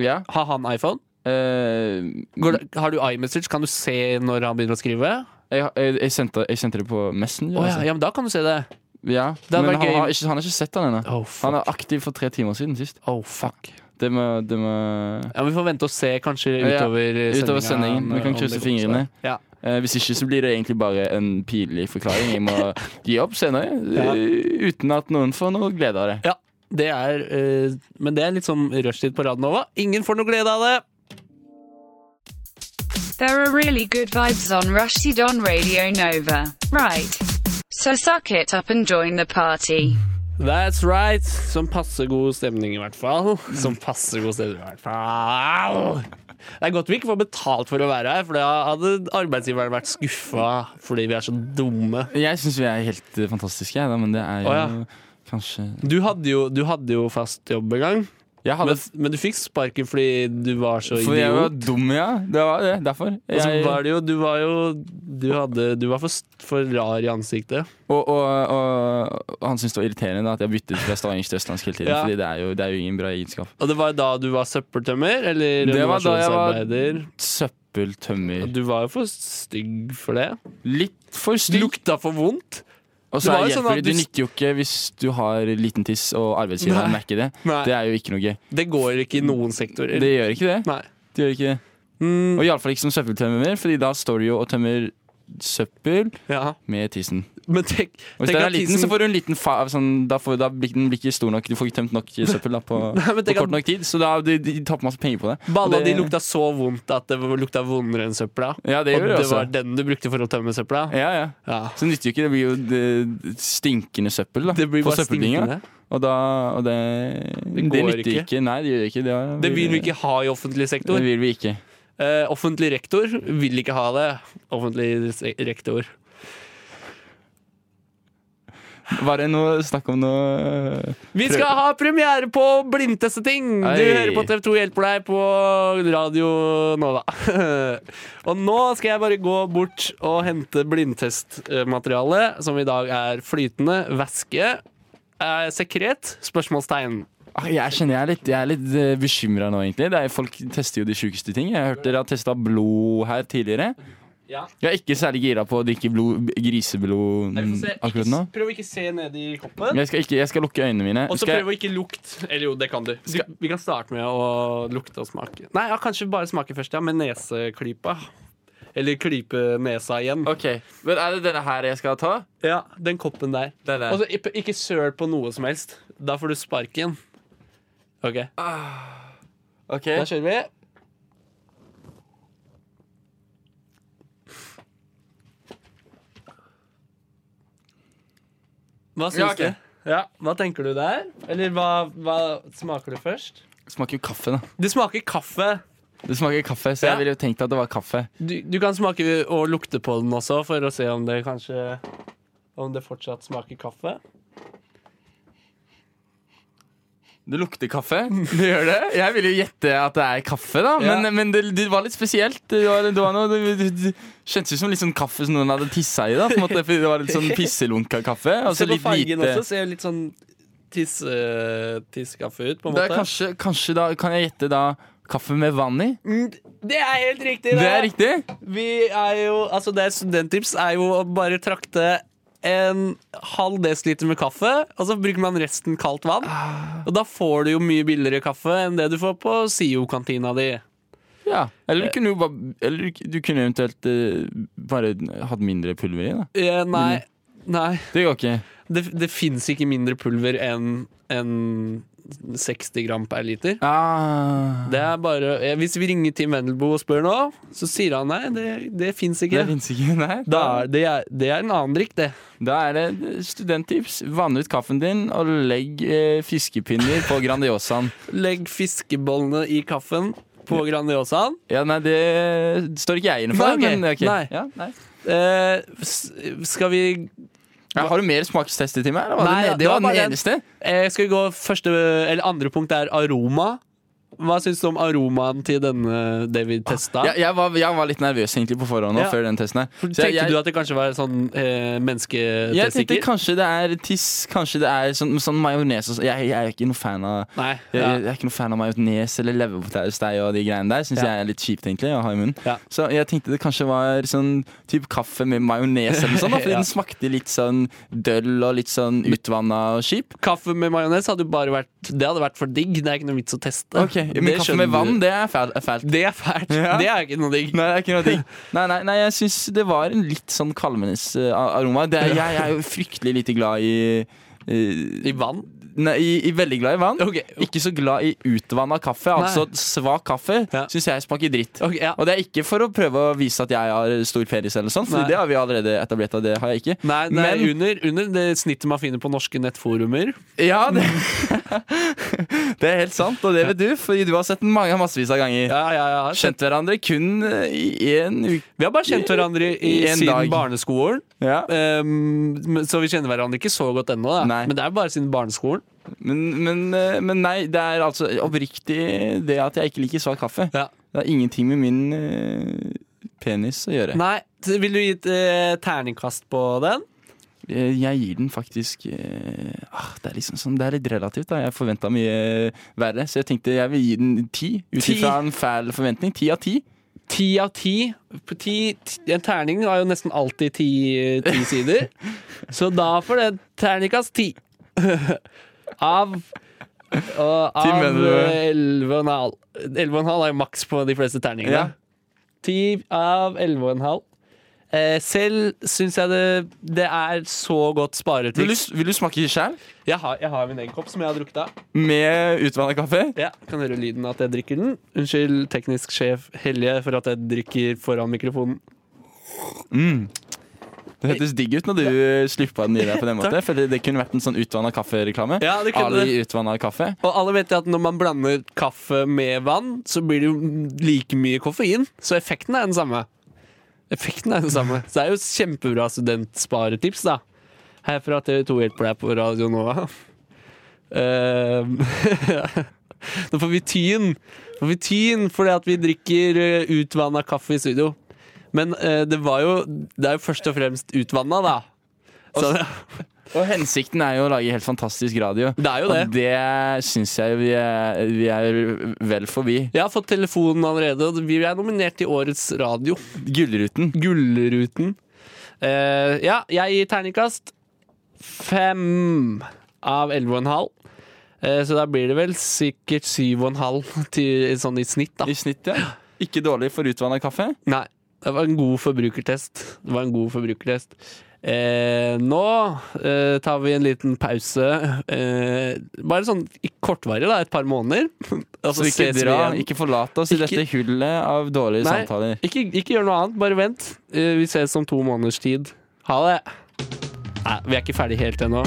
Ja. Har han iPhone? eh, Går det, har du iMessage? Kan du se når han begynner å skrive? jeg, jeg, jeg, sendte, jeg sendte det på Messenger. Å ja, altså. ja, men da kan du se det. ja. Det hadde Men vært han gøy. har, ikke, han har ikke sett den ennå. Oh, Han fuck. er aktiv for tre timer siden sist. Oh, fuck. Det må, det må Ja, men Vi får vente og se, kanskje Ja, utover eh, utover sendingen, sendingen. Vi eh, om kan det krysse går. fingrene. Ja. eh, Hvis ikke så blir det egentlig bare en pinlig forklaring. Jeg må gi opp [LAUGHS] senere. Ja. eh, Uten at noen får noe glede av det. ja. Det er, eh, men det er litt sånn rushtid på Radnova. Ingen får noe glede av det! There are really good vibes on Rushdie on Radio Nova. Right. So suck it up and join the party. That's right. Som passe god stemning, i hvert fall. Som passe god stemning, i hvert fall. Det er godt vi ikke får betalt for å være her, for da hadde arbeidsgiveren vært skuffa fordi vi er så dumme. Jeg syns vi er helt eh, fantastiske, jeg, da, men det er jo Å, ja. kanskje Du hadde jo, du hadde jo fast jobb en gang, Jeg hadde men, men du fikk sparken fordi du var så Fordi jeg var idiot. dum, ja. Det var det, derfor. Og så Jeg, var det jo Du var jo Du, hadde, du var for, st- for rar i ansiktet. og, og, og, og han syntes det var irriterende da, at jeg byttet fra stavangersk til østlandsk hele tiden. Ja. Fordi det er, jo, det er jo ingen bra egenskap. Og det var da du var søppeltømmer? Eller Det var da jeg var- renovasjonsarbeider? Søppeltømmer. Du var jo for stygg for det. Litt for stygg. Lukta for vondt. Og Det så var jo er det sånn at hjelper det. Du du- nytter jo ikke hvis du har liten tiss og arbeidsgiveren Nei. merker det. Nei. Det er jo ikke noe gøy. Det går ikke i noen sektorer. Mm. Det gjør ikke det. Nei. Mm. det, gjør ikke det. Og iallfall ikke som søppeltømmer, Fordi da står du jo og tømmer søppel Ja. med tissen. Men tenk, Og hvis tenk den er at liten, tissen- så får du en liten fa... Sånn, da, får, da blir den blir ikke stor nok. Du får ikke tømt nok søppel da, på, [LAUGHS] Nei, men på tenk at- kort nok tid, så da de, de taper masse penger på det. Og Balla det- di lukta så vondt at det lukta vondere enn søpla. Ja, det og gjør det det også. var den du brukte for å tømme søpla? Ja, ja. Ja. Så det nytter jo ikke. Det blir jo det, stinkende søppel da, Det blir på bare søppeldynga. stinkende. Og, da, og det, det, går nytter ikke. ikke. Nei, det gjør ikke det. Det vil vi ikke ha i offentlig sektor. Det vil vi ikke. Eh, offentlig rektor vil ikke ha det. Offentlig se- rektor. Var det noe snakk om noe Vi skal ha premiere på Blindteste ting! Du Ei. hører på TV2 Hjelper deg på Radio Nova. [LAUGHS] og nå skal jeg bare gå bort og hente blindtestmateriale, som i dag er flytende væske. Eh, sekret? Spørsmålstegn. Ah, Jeg kjenner jeg er litt, jeg er litt eh, bekymra nå, egentlig. Det er, folk tester jo de sjukeste ting. Jeg hørte dere har testa blod her tidligere. Ja. Jeg er ikke særlig gira på å drikke blod, griseblod Nei, vi får mm, se. akkurat nå. Ikke- Prøv å ikke se ned i koppen. Jeg skal, ikke, jeg skal lukke øynene mine. Og så Skal prøv jeg, å ikke lukte. Eller jo, det kan du. du. Vi kan starte med å lukte og smake. Nei, ja, kanskje bare smake først, ja. Med neseklypa. Eller klype nesa igjen. Ok, men er det denne her jeg skal ta? Ja, den koppen der. Denne. Og så ikke, ikke søl på noe som helst. Da får du sparken. OK, Ok, da kjører vi. Hva syns Ja, ok. du? Ja, hva tenker du der? Eller hva, hva smaker du først? Det smaker jo kaffe, da. Det smaker kaffe. Det smaker kaffe, Så Ja. jeg ville jo tenkt at det var kaffe. Du, du kan smake og lukte på den også for å se om det kanskje Om det fortsatt smaker kaffe. Det lukter kaffe. Det gjør det. Jeg ville jo gjette at det er kaffe, da. Men, Ja. men det, det var litt spesielt. Det, var, det, var noe, det, det, det kjentes ut som litt sånn kaffe som noen hadde tissa i. da på en måte, Fordi det var litt sånn pisselunka [LAUGHS] kaffe. og så se på litt fargen lite- også. Ser litt sånn tiss, eh, tisskaffe ut, på en Det måte. er kanskje, kanskje da kan jeg gjette da kaffe med vann i? Mm, det er helt riktig! Det da. er riktig! Vi er jo Altså, det er studenttips er jo å bare trakte en halv desiliter med kaffe, og så bruker man resten kaldt vann. Ah. Og da får du jo mye billigere kaffe enn det du får på SIO-kantina di. Ja. Eller Eh. du kunne jo bare Eller du kunne eventuelt eh, bare hatt mindre pulver i, da. Eh, nei, Mm. nei. Det går ikke. Det, det fins ikke mindre pulver enn enn 60 gram per liter. Ah, Det er bare, eh, hvis vi ringer Tim Wendelboe og spør nå, så sier han nei, det, det fins det ikke. fins ikke, nei. Da er, det, er, det er en annen drikk, det. Da er det studenttips. Vann ut kaffen din, og legg eh, fiskepinner på Grandiosaen. [LAUGHS] Legg fiskebollene i kaffen på Grandiosaen. Ja, nei, det står ikke jeg inne for. Nei, ok. Men, ok. Nei. Ja, nei. Eh, s- skal vi Ja, har du mer smakstester til meg? eller var Nei, det, ja, det var den bare den. eneste. eh, Skal vi gå første Eller andre punkt er aroma. Hva syns du om aromaen til denne det vi testa? Ja, jeg, var, jeg var litt nervøs egentlig på forhånd Ja. nå, før den testen. her Så Tenkte jeg- jeg- du at det kanskje var sånn eh, Jeg tenkte mennesketestikler? kanskje det er tiss, kanskje det er sånn, sånn majones og sånn. Jeg, jeg er ikke noe fan av Nei. jeg, Ja. jeg er ikke noe fan av majones eller leverpostei og de greiene der. Syns Ja. jeg er litt kjipt, egentlig, å ha i munnen. Ja. Så jeg tenkte det kanskje var sånn typ kaffe med majones eller noe sånt, da, [LAUGHS] fordi Ja. den smakte litt sånn døll og litt sånn utvanna og kjip. Kaffe med majones hadde jo bare vært Det hadde vært for digg. Det er ikke noe vits å teste. Men Det kaffe med skjønner vann, du. det er fælt. er [LAUGHS] fælt. Det er fælt. Ja. Det er ikke noe digg. Nei, det er ikke noe digg. Nei, nei, nei, jeg syns det var en litt sånn kvalmende eh, aroma. Det er, jeg, jeg er jo fryktelig lite glad i eh, I vann? Nei, i, i veldig glad i vann. Ok. Ikke så glad i utvanna kaffe. Altså svak kaffe Ja. syns jeg smaker dritt. Ok, ja. Og det er ikke for å prøve å vise at jeg har stor penis, eller sånn, for Nei. det har vi allerede etablert. at det har jeg ikke. Nei, det er Men- under, under det snittet man finner på norske nettforumer. [LAUGHS] Ja, det, [LAUGHS] det er helt sant, og det vet du, fordi du har sett den mange massevis av ganger. Ja, ja, ja. Kjent hverandre kun eh, i én uke. Vi har bare kjent hverandre i, I en siden dag. barneskolen. Ja. Um, men- så vi kjenner hverandre ikke så godt ennå, da. Nei. men det er bare siden barneskolen. Men, men, eh, men nei, det er altså oppriktig det at jeg ikke liker svak kaffe. Ja. Det har ingenting med min eh, penis å gjøre. Nei, så Vil du gi et eh, terningkast på den? Eh, Jeg gir den faktisk eh, ah, det, er liksom sånn, det er litt relativt. da Jeg forventa mye eh, verre, så jeg tenkte jeg vil gi den ti. Ut Ti? ifra en fæl forventning. Ti av ti. Ti av ti. På ti- ti- En terning har jo nesten alltid ti, [LAUGHS] ti sider. så da får det terningkast ti. [LAUGHS] av og Ti Av mener du? eh, elleve og en halv. Elleve og en halv er jo maks på de fleste terningene. Ja. Ti av elleve og en halv. Eh, selv syns jeg det, det er så godt Vil, du, sparetips. s- vil du smake sjæl? Jeg har, jeg har min egen kopp som jeg har drukket av. Med utvanna kaffe? Ja, Kan høre lyden av at jeg drikker den. Unnskyld teknisk sjef Helje for at jeg drikker foran mikrofonen. Det hørtes digg ut når du eh, slippa den i deg på [LAUGHS] den måten. For det, det kunne vært en sånn utvanna kaffe-reklame. Ja, det kunne Ali utvanna kaffe. Og alle vet at når man blander kaffe med vann, så blir det jo like mye koffein. Så effekten er den samme. Effekten er den samme. Så det er jo kjempebra studentsparetips, da. Her fra TV2 hjelper deg på Radio Nova. Eh, [LAUGHS] Nå får vi tyn. Nå får vi tyn fordi at vi drikker utvanna kaffe i studio. Men eh, det var jo Det er jo først og fremst utvanna, da. Så det, Og hensikten er jo å lage helt fantastisk radio. det er jo det. Og det syns jeg vi er, vi er vel forbi. Jeg har fått telefonen allerede, og vi er nominert til årets radio. Gullruten. Gullruten. Eh, ja, jeg gir terningkast fem av elleve og en halv. Eh, så da blir det vel sikkert syv og en halv til, sånn i snitt, da. I snitt, ja. Ikke dårlig for utvanna kaffe. Nei. Det var en god forbrukertest. Det var en god forbrukertest. Eh, nå eh, tar vi en liten pause. Eh, bare sånn i kortvarig, da. Et par måneder. [LAUGHS] Og Så ikke ses vi dra, igjen. ikke forlat oss i Ikke- dette hullet av dårlige Nei. samtaler. Ikke, ikke gjør noe annet, bare vent. Eh, Vi ses om to måneders tid. Ha det. Nei, vi er ikke ferdig helt ennå.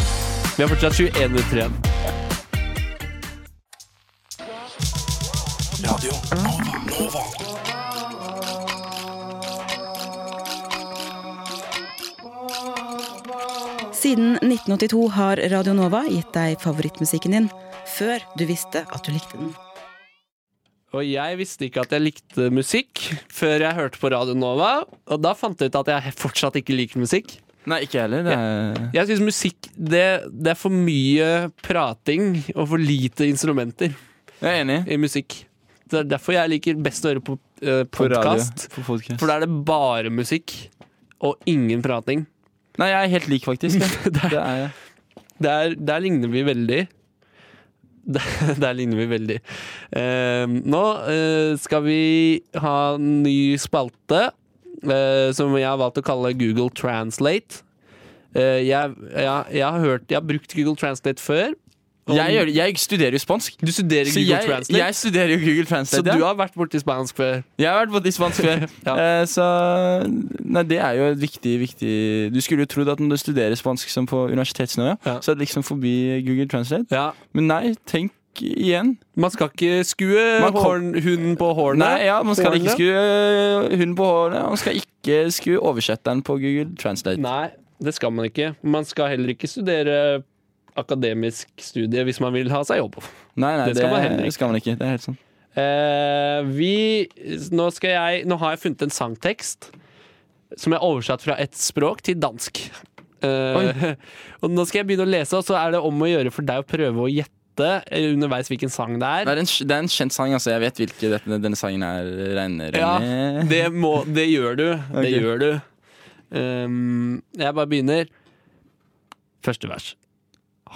Vi har fortsatt 21 minutter igjen. Siden 1982 har Radio Nova gitt deg favorittmusikken din før du visste at du likte den. Og jeg visste ikke at jeg likte musikk før jeg hørte på Radio Nova. Og da fant jeg ut at jeg fortsatt ikke liker musikk. Nei, ikke jeg heller. Det er... Jeg syns musikk det, det er for mye prating og for lite instrumenter Jeg er enig. i musikk. Det er derfor jeg liker best å høre på eh, På radio, podkast. på podcast. For da er det bare musikk og ingen prating. Nei, jeg er helt lik, [LAUGHS] faktisk. jeg. Det er- Det er jeg. Der, der ligner vi veldig. [LAUGHS] Der, der ligner vi veldig. Eh, nå eh, skal vi ha en ny spalte, eh, som jeg har valgt å kalle Google Translate. Eh, jeg, jeg, jeg har hørt Jeg har brukt Google Translate før. og- Jeg, gjør, det- jeg studerer jo spansk. Du studerer Så Google jeg, Translate, jeg studerer jo Google Translate. så ja. du har vært borti spansk før. Jeg har vært på dispens før. [LAUGHS] Ja. eh, så Nei, det er jo et viktig, viktig Du skulle jo trodd at når du studerer spansk som på universitetsnivå, Ja. så er det liksom forbi Google Translate. Ja. Men nei, tenk igjen. Man skal ikke skue Man kom- horn, hunden på hornet. Nei, ja, Man skal ikke Hornet. skue eh, hunden på håret. og Man skal ikke skue oversetteren på Google Translate. Nei, det skal man ikke. Man skal heller ikke studere akademisk studie hvis man vil ha seg jobb. Nei, nei, Det skal man heller ikke. skal man ikke. Det er helt sant. Eh, vi, nå, skal jeg, nå har jeg funnet en sangtekst som er oversatt fra et språk til dansk. Eh, [LAUGHS] og nå skal jeg begynne å lese, og så er det om å gjøre for deg å prøve å gjette eh, underveis hvilken sang det Det er. er en, det er en kjent sang. altså Jeg vet hvilke dette, denne sangen er regner Ja, med. det, må, det gjør du. Det Ok. gjør du. Um, jeg bare begynner. Første vers.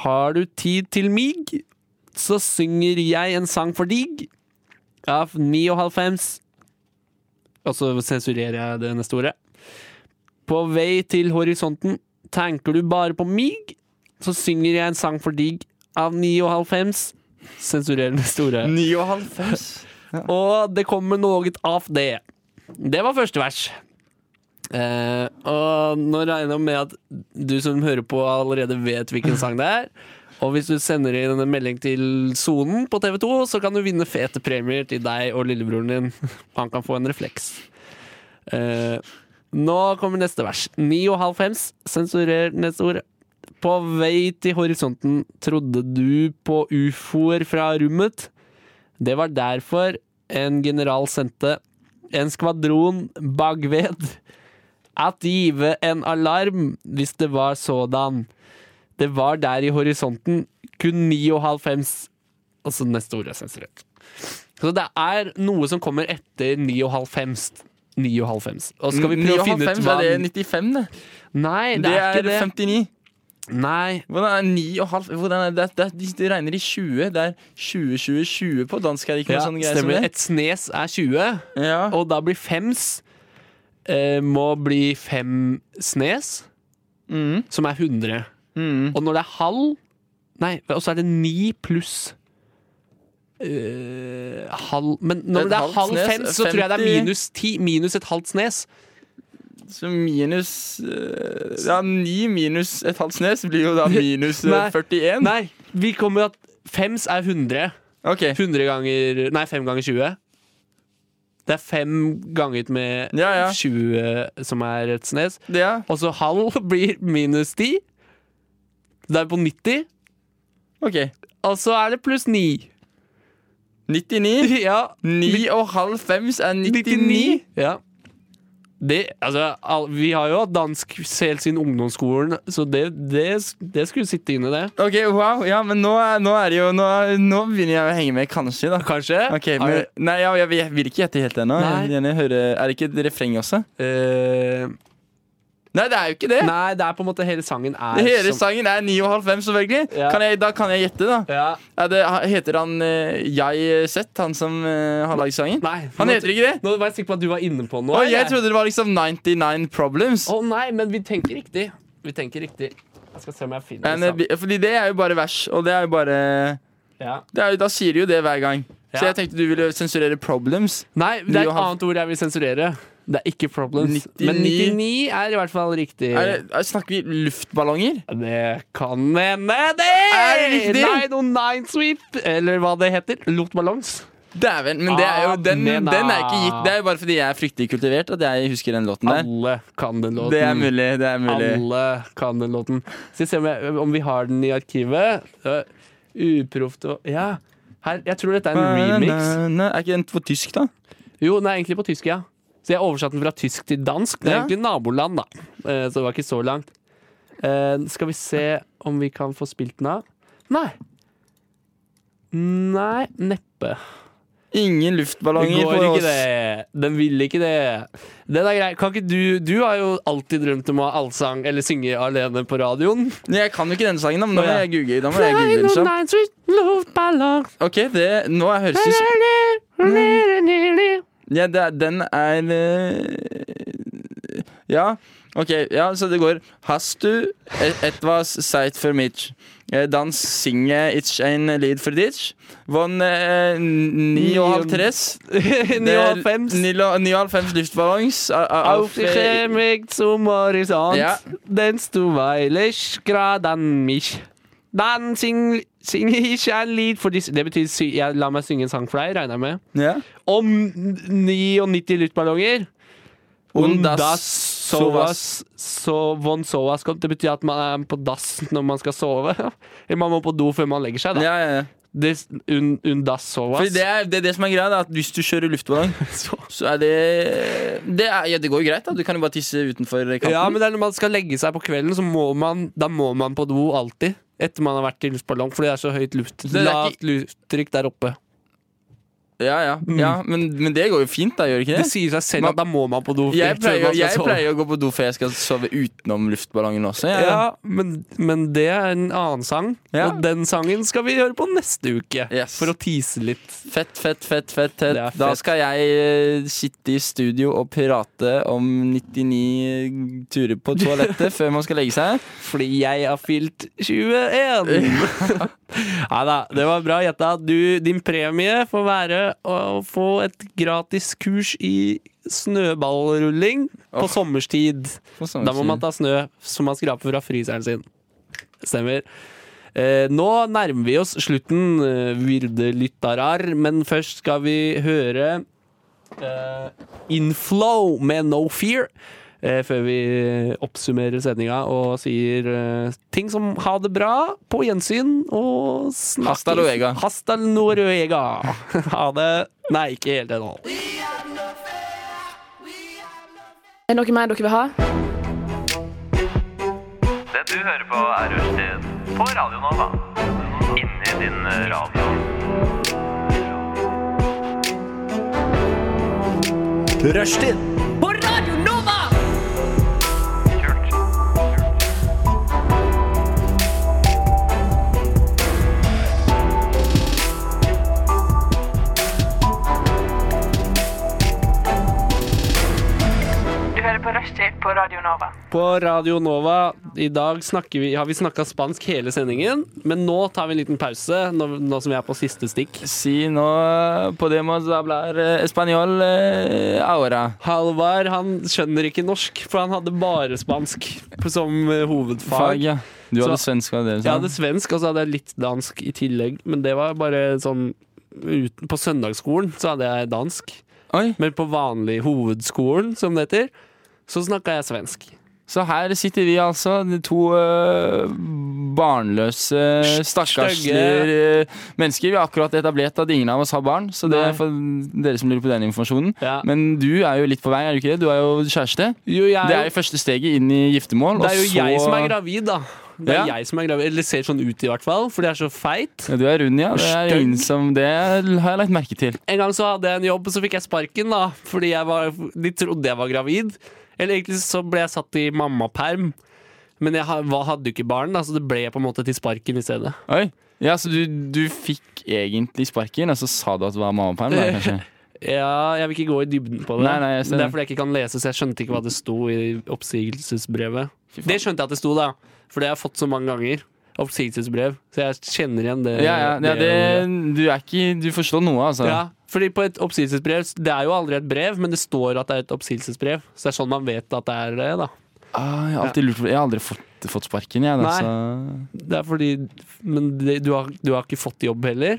Har du tid til mig, så synger jeg en sang for dig av 99. Og så sensurerer jeg det neste ordet. På vei til horisonten tenker du bare på mig, så synger jeg en sang for dig av 99. Sensurerer neste ordet. [LAUGHS] 99. Og det kommer noe av det. Det var første vers. Eh, og nå regner jeg med at du som hører på allerede vet hvilken sang det er. Og hvis du sender inn en melding til Sonen på TV2, så kan du vinne fete premier til deg og lillebroren din. [LAUGHS] Han kan få en refleks. Eh, nå kommer neste vers. 99 sensurer neste ord. På vei til horisonten trodde du på ufoer fra rommet. Det var derfor en general sendte en skvadron bagved at give en alarm hvis det var sådan. Det var der i horisonten kun 99 Og så altså neste ord er sensurert. Så det er noe som kommer etter 99. 99. Og skal vi prøve å finne ut hva Er det 95, det? Nei, Det det er er, ikke det. 59. Nei, Hvordan er 9 og halv hvordan er det, det, det, det regner i 20. Det er 20, 20, 20 på dansk. Er det ikke ja, noe sånn greier som stemmer. det? Et snes er 20. Ja. Og da blir fems eh, Må bli fem snes Mhm. Som er 100 Mhm. Og når det er halv Nei, og så er det 9 pluss eh, halv Men når Et det er halvt halv snes, fems Så tror jeg det er 50. minus 10 Minus et halvt snes Så minus eh, Ja, 9 minus et halvt snes blir jo [LAUGHS] da minus eh, Nei. 41. Nei, vi kommer jo at Fems er 100 Ok. 100 ganger Nei, 5 ganger 20 Det er 5 ganger med Ja, ja. 20 Som er et snes Det er Og så halv [LAUGHS] blir minus 10. Det er på 90. OK. Og så er det pluss [LAUGHS] 9. 99. [LAUGHS] Ja. 9 og halv fems er 99. 99. Ja. Det, altså, all, vi har jo hatt dansk helt siden ungdomsskolen, så det, det, det skulle sitte inne, det. Ok, wow. Ja, men nå er, nå er det jo nå, er- nå begynner jeg å henge med, kanskje, da. Kanskje? Ok, men, Er det- nei, ja, jeg, jeg vil ikke gjette helt ennå. Jeg vil gjerne høre Er det ikke et refreng også? Eh, Nei, det er jo ikke det. nei, det er på en måte hele sangen er Hele som- sangen er 9,5, selvfølgelig. Ja. Kan jeg, da kan jeg gjette, da. Ja. Er det, heter han eh, Jeg Sett, han som eh, har laget sangen? Nei. Han heter ikke det. Nå var jeg sikker på at du var inne på noe. Å, eller? jeg trodde det var liksom 99 Problems. Å nei, men vi tenker riktig. Vi tenker riktig. Jeg skal se om jeg finner Men, eh, det. vi- fordi det er jo bare vers, og det er jo bare sammen. Ja. det er jo, Da sier de jo det hver gang. Så Ja. jeg tenkte du ville sensurere Problems. Nei, det er et Johan- annet ord jeg vil sensurere. Det er ikke problems. 99. Men 99 er i hvert fall riktig. Er, det- er, snakker vi luftballonger? Det kan hende, det! Er det riktig? Nei, noen nine sweep, eller hva det heter. Luftballongs. Dæven. Men det er jo, den, Ah, den nena. er ikke gitt. Det er jo bare fordi jeg er fryktelig kultivert at jeg husker den låten der. Alle kan den låten. Det er mulig. det er mulig Alle kan den låten. Skal vi se om, jeg, om vi har den i arkivet. Uh, Uproft og Ja. Her, jeg tror dette er en remix. Na, na, na. Er ikke den på tysk, da? Jo, den er egentlig på tysk, ja. Så jeg oversatte den fra tysk til dansk. Det er Ja. egentlig naboland, da. Eh, Så det var ikke så langt. Eh, Skal vi se om vi kan få spilt den av? Nei. Nei, neppe. Ingen Det luftballonger går for ikke oss. det. Den vil ikke det. Den er grei. Kan ikke du Du har jo alltid drømt om å ha allsang eller synge alene på radioen. Nei, Jeg kan jo ikke den sangen, da, men nå må Nei. jeg google. Da må jeg google den kjapt. Ok, det, nå er høres det ut [LAUGHS] ja, det, er- Den er eh, Ja, ok. Ja, så det går Hast du et- etwas Zeit für mich? Eh, Dans singe ich ein Lied für dich? Von eh, ni og halv tres. Det er 99. ni lo- ni og halvfems luftballongs. a- a- Auf auf, die eh, Chemik zum Horizont, Ja. dens du weilig grad an mich. Dann sing, sing ich ein Lied for disse Det betyr sy jeg, La meg synge en sang for deg, regner jeg med. ja. Om 99 luftballonger. Und das sovas so, Von soas kommt. Det betyr at man er på dass når man skal sove. [LAUGHS] Eller man må på do før man legger seg, da. Ja, ja, ja. Des, un, un das sovas. Fordi det er det, er det som er greia, det er at hvis du kjører luftballong, [LAUGHS] så er det Det, er, ja, det går jo greit, da. Du kan jo bare tisse utenfor kanten. Ja, men det er når man skal legge seg på kvelden, så må man, da må man på do alltid. Etter man har vært i luftballong, fordi det er så høyt luft, er ikke- lavt lufttrykk der oppe. ja, ja, ja men, men det går jo fint, da, gjør det ikke Det det? sier seg selv Man- at da må man på do. Jeg først før pleier, man skal jeg sove. pleier å gå på do før jeg skal sove utenom luftballongen også. ja, jeg, da. men, men det er en annen sang, Ja. og den sangen skal vi høre på neste uke. Yes. For å tease litt. Fett, fett, fett, fett, fett. Det er Da fett. skal jeg eh, sitte i studio og prate om 99 turer på [LAUGHS] toalettet før man skal legge seg. Fordi jeg har fylt 21. [LAUGHS] Nei da, det var bra gjetta. Du, Din premie får være å få et gratis kurs i snøballrulling på sommerstid. Da må man ta snø som man skraper fra fryseren sin. Stemmer. Eh, nå nærmer vi oss slutten, eh, virde lyttarar, men først skal vi høre eh, Inflow med No Fear. Eh, før vi oppsummerer sendinga og sier eh, ting som ha det bra, på gjensyn og snakkes. Hasta luego. Hasta luego. [LAUGHS] ha det. Nei, ikke helt ennå. Er det noe mer dere vil ha? Det du hører på er Rushtid på Radio Nova. Inni din radio. Rushtid! Kult. Du hører på Rushtid på Radio Nova. På Radio Nova i dag snakker vi, har vi snakka spansk hele sendingen, men nå tar vi en liten pause, nå, nå som vi er på siste stikk. Si nå eh, podemos hablar eh, español eh, ahora. Halvard han skjønner ikke norsk, for han hadde bare spansk som eh, Fag, hovedfag. ja. Du Så- hadde svensk og det, Jeg hadde svensk, og så hadde jeg litt dansk i tillegg, men det var bare sånn uten, På søndagsskolen så hadde jeg dansk, Oi, men på vanlig hovedskolen, som det heter, så snakka jeg svensk. så her sitter vi altså, de to øh, barnløse, stakkarslige øh, mennesker. Vi har akkurat etablert at ingen av oss har barn, så det Nei. er for dere som lurer på den informasjonen. Ja. Men du er jo litt på vei, er du ikke det? Du er jo kjæreste. Jo, jeg, Det er jo første steget inn i giftermål. Det er jo og så... jeg som er gravid, da. Det er Ja. jeg som er gravid, Eller ser sånn ut, i hvert fall, fordi jeg er så feit. Ja, du er rund, ja. Det er jo Stygg. ingen som Det har jeg lagt merke til. En gang så hadde jeg en jobb, og så fikk jeg sparken, da. Fordi jeg var, de trodde jeg var gravid. Eller egentlig så ble jeg satt i mammaperm. Men jeg ha- hva- hadde jo ikke barn, da, så det ble på en måte til sparken i stedet. Oi. Ja, så du, du fikk egentlig sparken, og så sa du at det var mammaperm, da, kanskje? [LAUGHS] Ja, jeg vil ikke gå i dybden på det. Nei, nei, jeg ser det er det. fordi jeg ikke kan lese, så jeg skjønte ikke hva det sto i oppsigelsesbrevet. Det skjønte jeg at det sto, da. For det har jeg fått så mange ganger. Oppsigelsesbrev. Så jeg kjenner igjen det. Ja, ja, ja det, ordet. du er ikke Du forstår noe, altså. Ja, Fordi på et oppsigelsesbrev Det er jo aldri et brev, men det står at det er et oppsigelsesbrev. Så det er sånn man vet at det er det, da. Ah, jeg, har alltid lurt på, jeg har aldri fått, fått sparken, jeg. da, Nei. så- Det er fordi Men det, du, har, du har ikke fått jobb heller.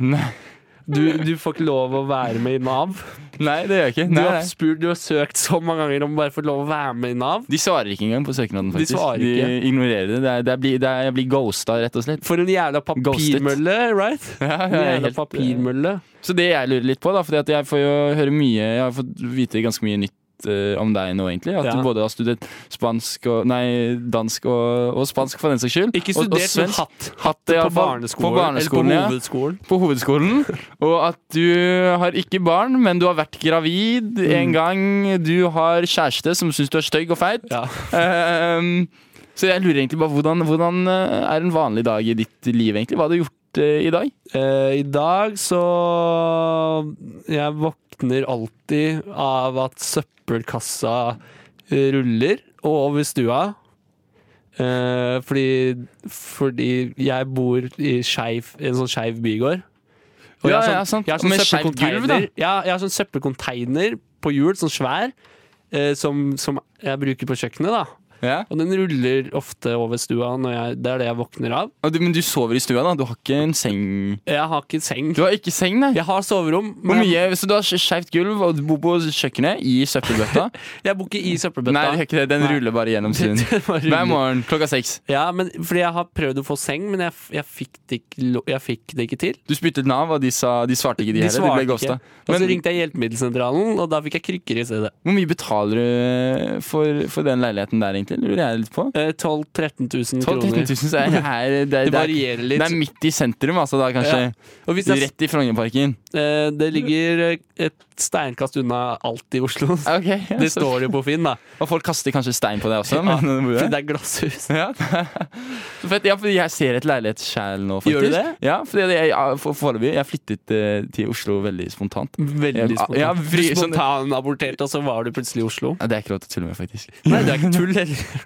Du, du får ikke lov å være med i Nav. Nei, det gjør jeg ikke. Du Nei, har nei. spurt, du har søkt så mange ganger om å bare få lov å være med i Nav. De svarer ikke engang på søknaden, De faktisk. svarer ikke. ignorerer det. det, er, det, er, bli- det er, jeg blir ghosta, rett og [LAUGHS] slett. For en jævla papirmølle, right? En Ja, jeg er jævla helt- eh, papirmølle. Så det jeg lurer litt på, da, fordi at jeg får jo høre mye Jeg har fått vite ganske mye nytt eh, om deg nå, egentlig. At Ja. du både har studert spansk og, nei, dansk og, og spansk, for den saks skyld. Ikke Og- og studert, men svensk. hatt. Hatt det det på iallfall. barneskolen. På barneskolen, eller ja. på hovedskolen. på hovedskolen. Og at du har ikke barn, men du har vært gravid en gang. Du har kjæreste som syns du er stygg og feit. Ehm, så jeg lurer egentlig bare hvordan, hvordan eh, er en vanlig dag i ditt liv, egentlig? Hva har du gjort eh, i dag? Eh, I dag så Jeg våkner alltid av at søppelkassa eh, ruller over stua. Eh, fordi, fordi jeg bor i skeiv, en sånn skeiv bygård. Og Ja, jeg har ja, sant. Jeg har sånn Med skeivt gulv, da. søppelcontainer- Ja, jeg har sånn søppelcontainer på hjul, sånn svær, eh, som, som jeg bruker på kjøkkenet. da Og den ruller ofte over stua. Når jeg, det er det jeg våkner av. Og du, men du sover i stua, da? Du har ikke en seng? Jeg har ikke seng. Du har ikke seng, nei? Jeg har soverom. Hvor men jeg- mye, så du har skeivt gulv, og du bor på kjøkkenet i [LAUGHS] søppelbøtta? Jeg bor ikke i søppelbøtta. nei, det er ikke det. [LAUGHS] den Nei. ruller bare gjennom stuen. bare ruller. Hver morgen klokka seks. Ja, men Fordi jeg har prøvd å få seng, men jeg, jeg, fikk, det ikke, lo- jeg fikk det ikke til. Du spyttet Nav, og de, sa, de svarte ikke, de, heller. De svarte ble ghosta. ikke. Og så ringte jeg hjelpemiddelsentralen, og da fikk jeg krykker i stedet. Hvor mye betaler du eh, for, for den leiligheten der, egentlig? Lurer jeg litt på. Eh, 12 000-13 000 12 000-13 kroner. 000, så er det her det, er- [LAUGHS] Det det er- varierer litt. Det er midt i sentrum, altså, da kanskje. Ja. Og hvis jeg, Rett i Frognerparken. eh, det ligger eh, et steinkast unna alt i Oslo. Ok, [LAUGHS] ja, Det så- Sånn, står jo på Finn, da. Og folk kaster kanskje stein på deg også. [LAUGHS] Ja, men- fordi det er glasshus. [LAUGHS] Ja. [LAUGHS] Så fett. ja, fordi jeg ser et leilighet sjæl nå, faktisk. Gjør du det? Ja, fordi jeg, jeg, for, foreløpig. Jeg flyttet eh, til Oslo veldig spontant. Veldig Ja, ja, spontant. Du vri- sånn- spontanaborterte, og så var du plutselig i Oslo. Ja, Det er ikke lov til å tulle med, faktisk. Nei, det er ikke [LAUGHS] tull heller.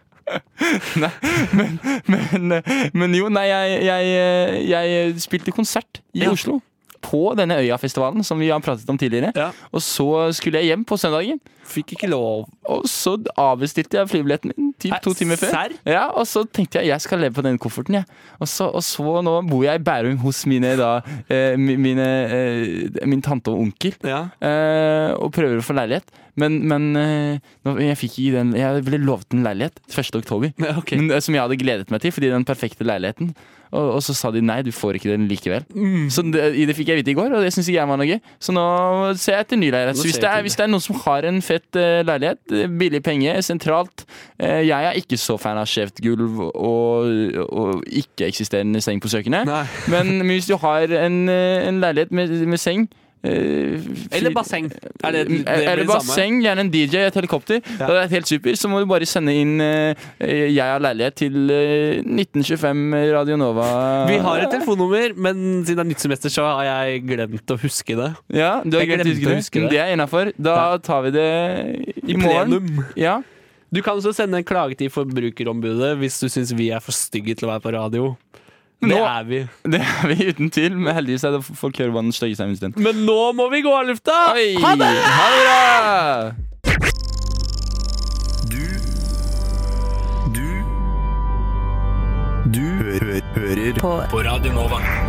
[LAUGHS] Men, eh, men jo, nei, jeg, jeg, eh, jeg spilte konsert i Ja. Oslo. På denne Øyafestivalen som vi har pratet om tidligere. Ja. Og så skulle jeg hjem på søndagen, Fikk ikke lov. og så avbestilte jeg flybilletten min typ Nei, to timer før. serr? Ja, og så tenkte jeg jeg skal leve på den kofferten, jeg. Og så, og så nå bor jeg i Bærum hos mine, da, eh, mi- mine, eh, min tante og onkel. Ja. Eh, og prøver å få leilighet. Men, men eh, nå, jeg fikk ikke den Jeg ble lovet en leilighet 1. oktober. Ja, ok. Men, eh, som jeg hadde gledet meg til, fordi den perfekte leiligheten. Og, og så sa de nei, du får ikke den likevel. Mm. Så det, det fikk jeg vite i går, og det syns ikke jeg var noe gøy. Så nå ser jeg etter ny leilighet. Nå Så hvis ser det, du er, til hvis det. det er noen som har en fett eh, leilighet, eh, billig penge, sentralt eh, Jeg er ikke så fan av skjevt gulv og, og ikke-eksisterende seng på kjøkkenet. Nei. Men hvis du har en, eh, en leilighet med, med seng eh, fri- Eller basseng. Er det, det blir eller det samme? basseng, gjerne en DJ et helikopter. Ja. Det er helt super. Så må du bare sende inn eh, 'Jeg har leilighet' til eh, 1925 Radio Nova. Vi har et telefonnummer, men siden det er nytt semester, så har jeg glemt å huske det. Ja, du har Jeg glemt glemte å huske det. å huske det. Men Det er innafor. Da Ja. tar vi det i, morgen. Ja. Du kan også sende en klage til Forbrukerombudet hvis du syns vi er for stygge til å være på radio. Det Nå- er vi. Det er vi uten tvil, men heldigvis er det folk hører hva den stygge stemmen sin. Men nå må vi gå av lufta! Oi, Ha det! Ha det bra! Du Du Du hø hø hører på. på Radio Nova.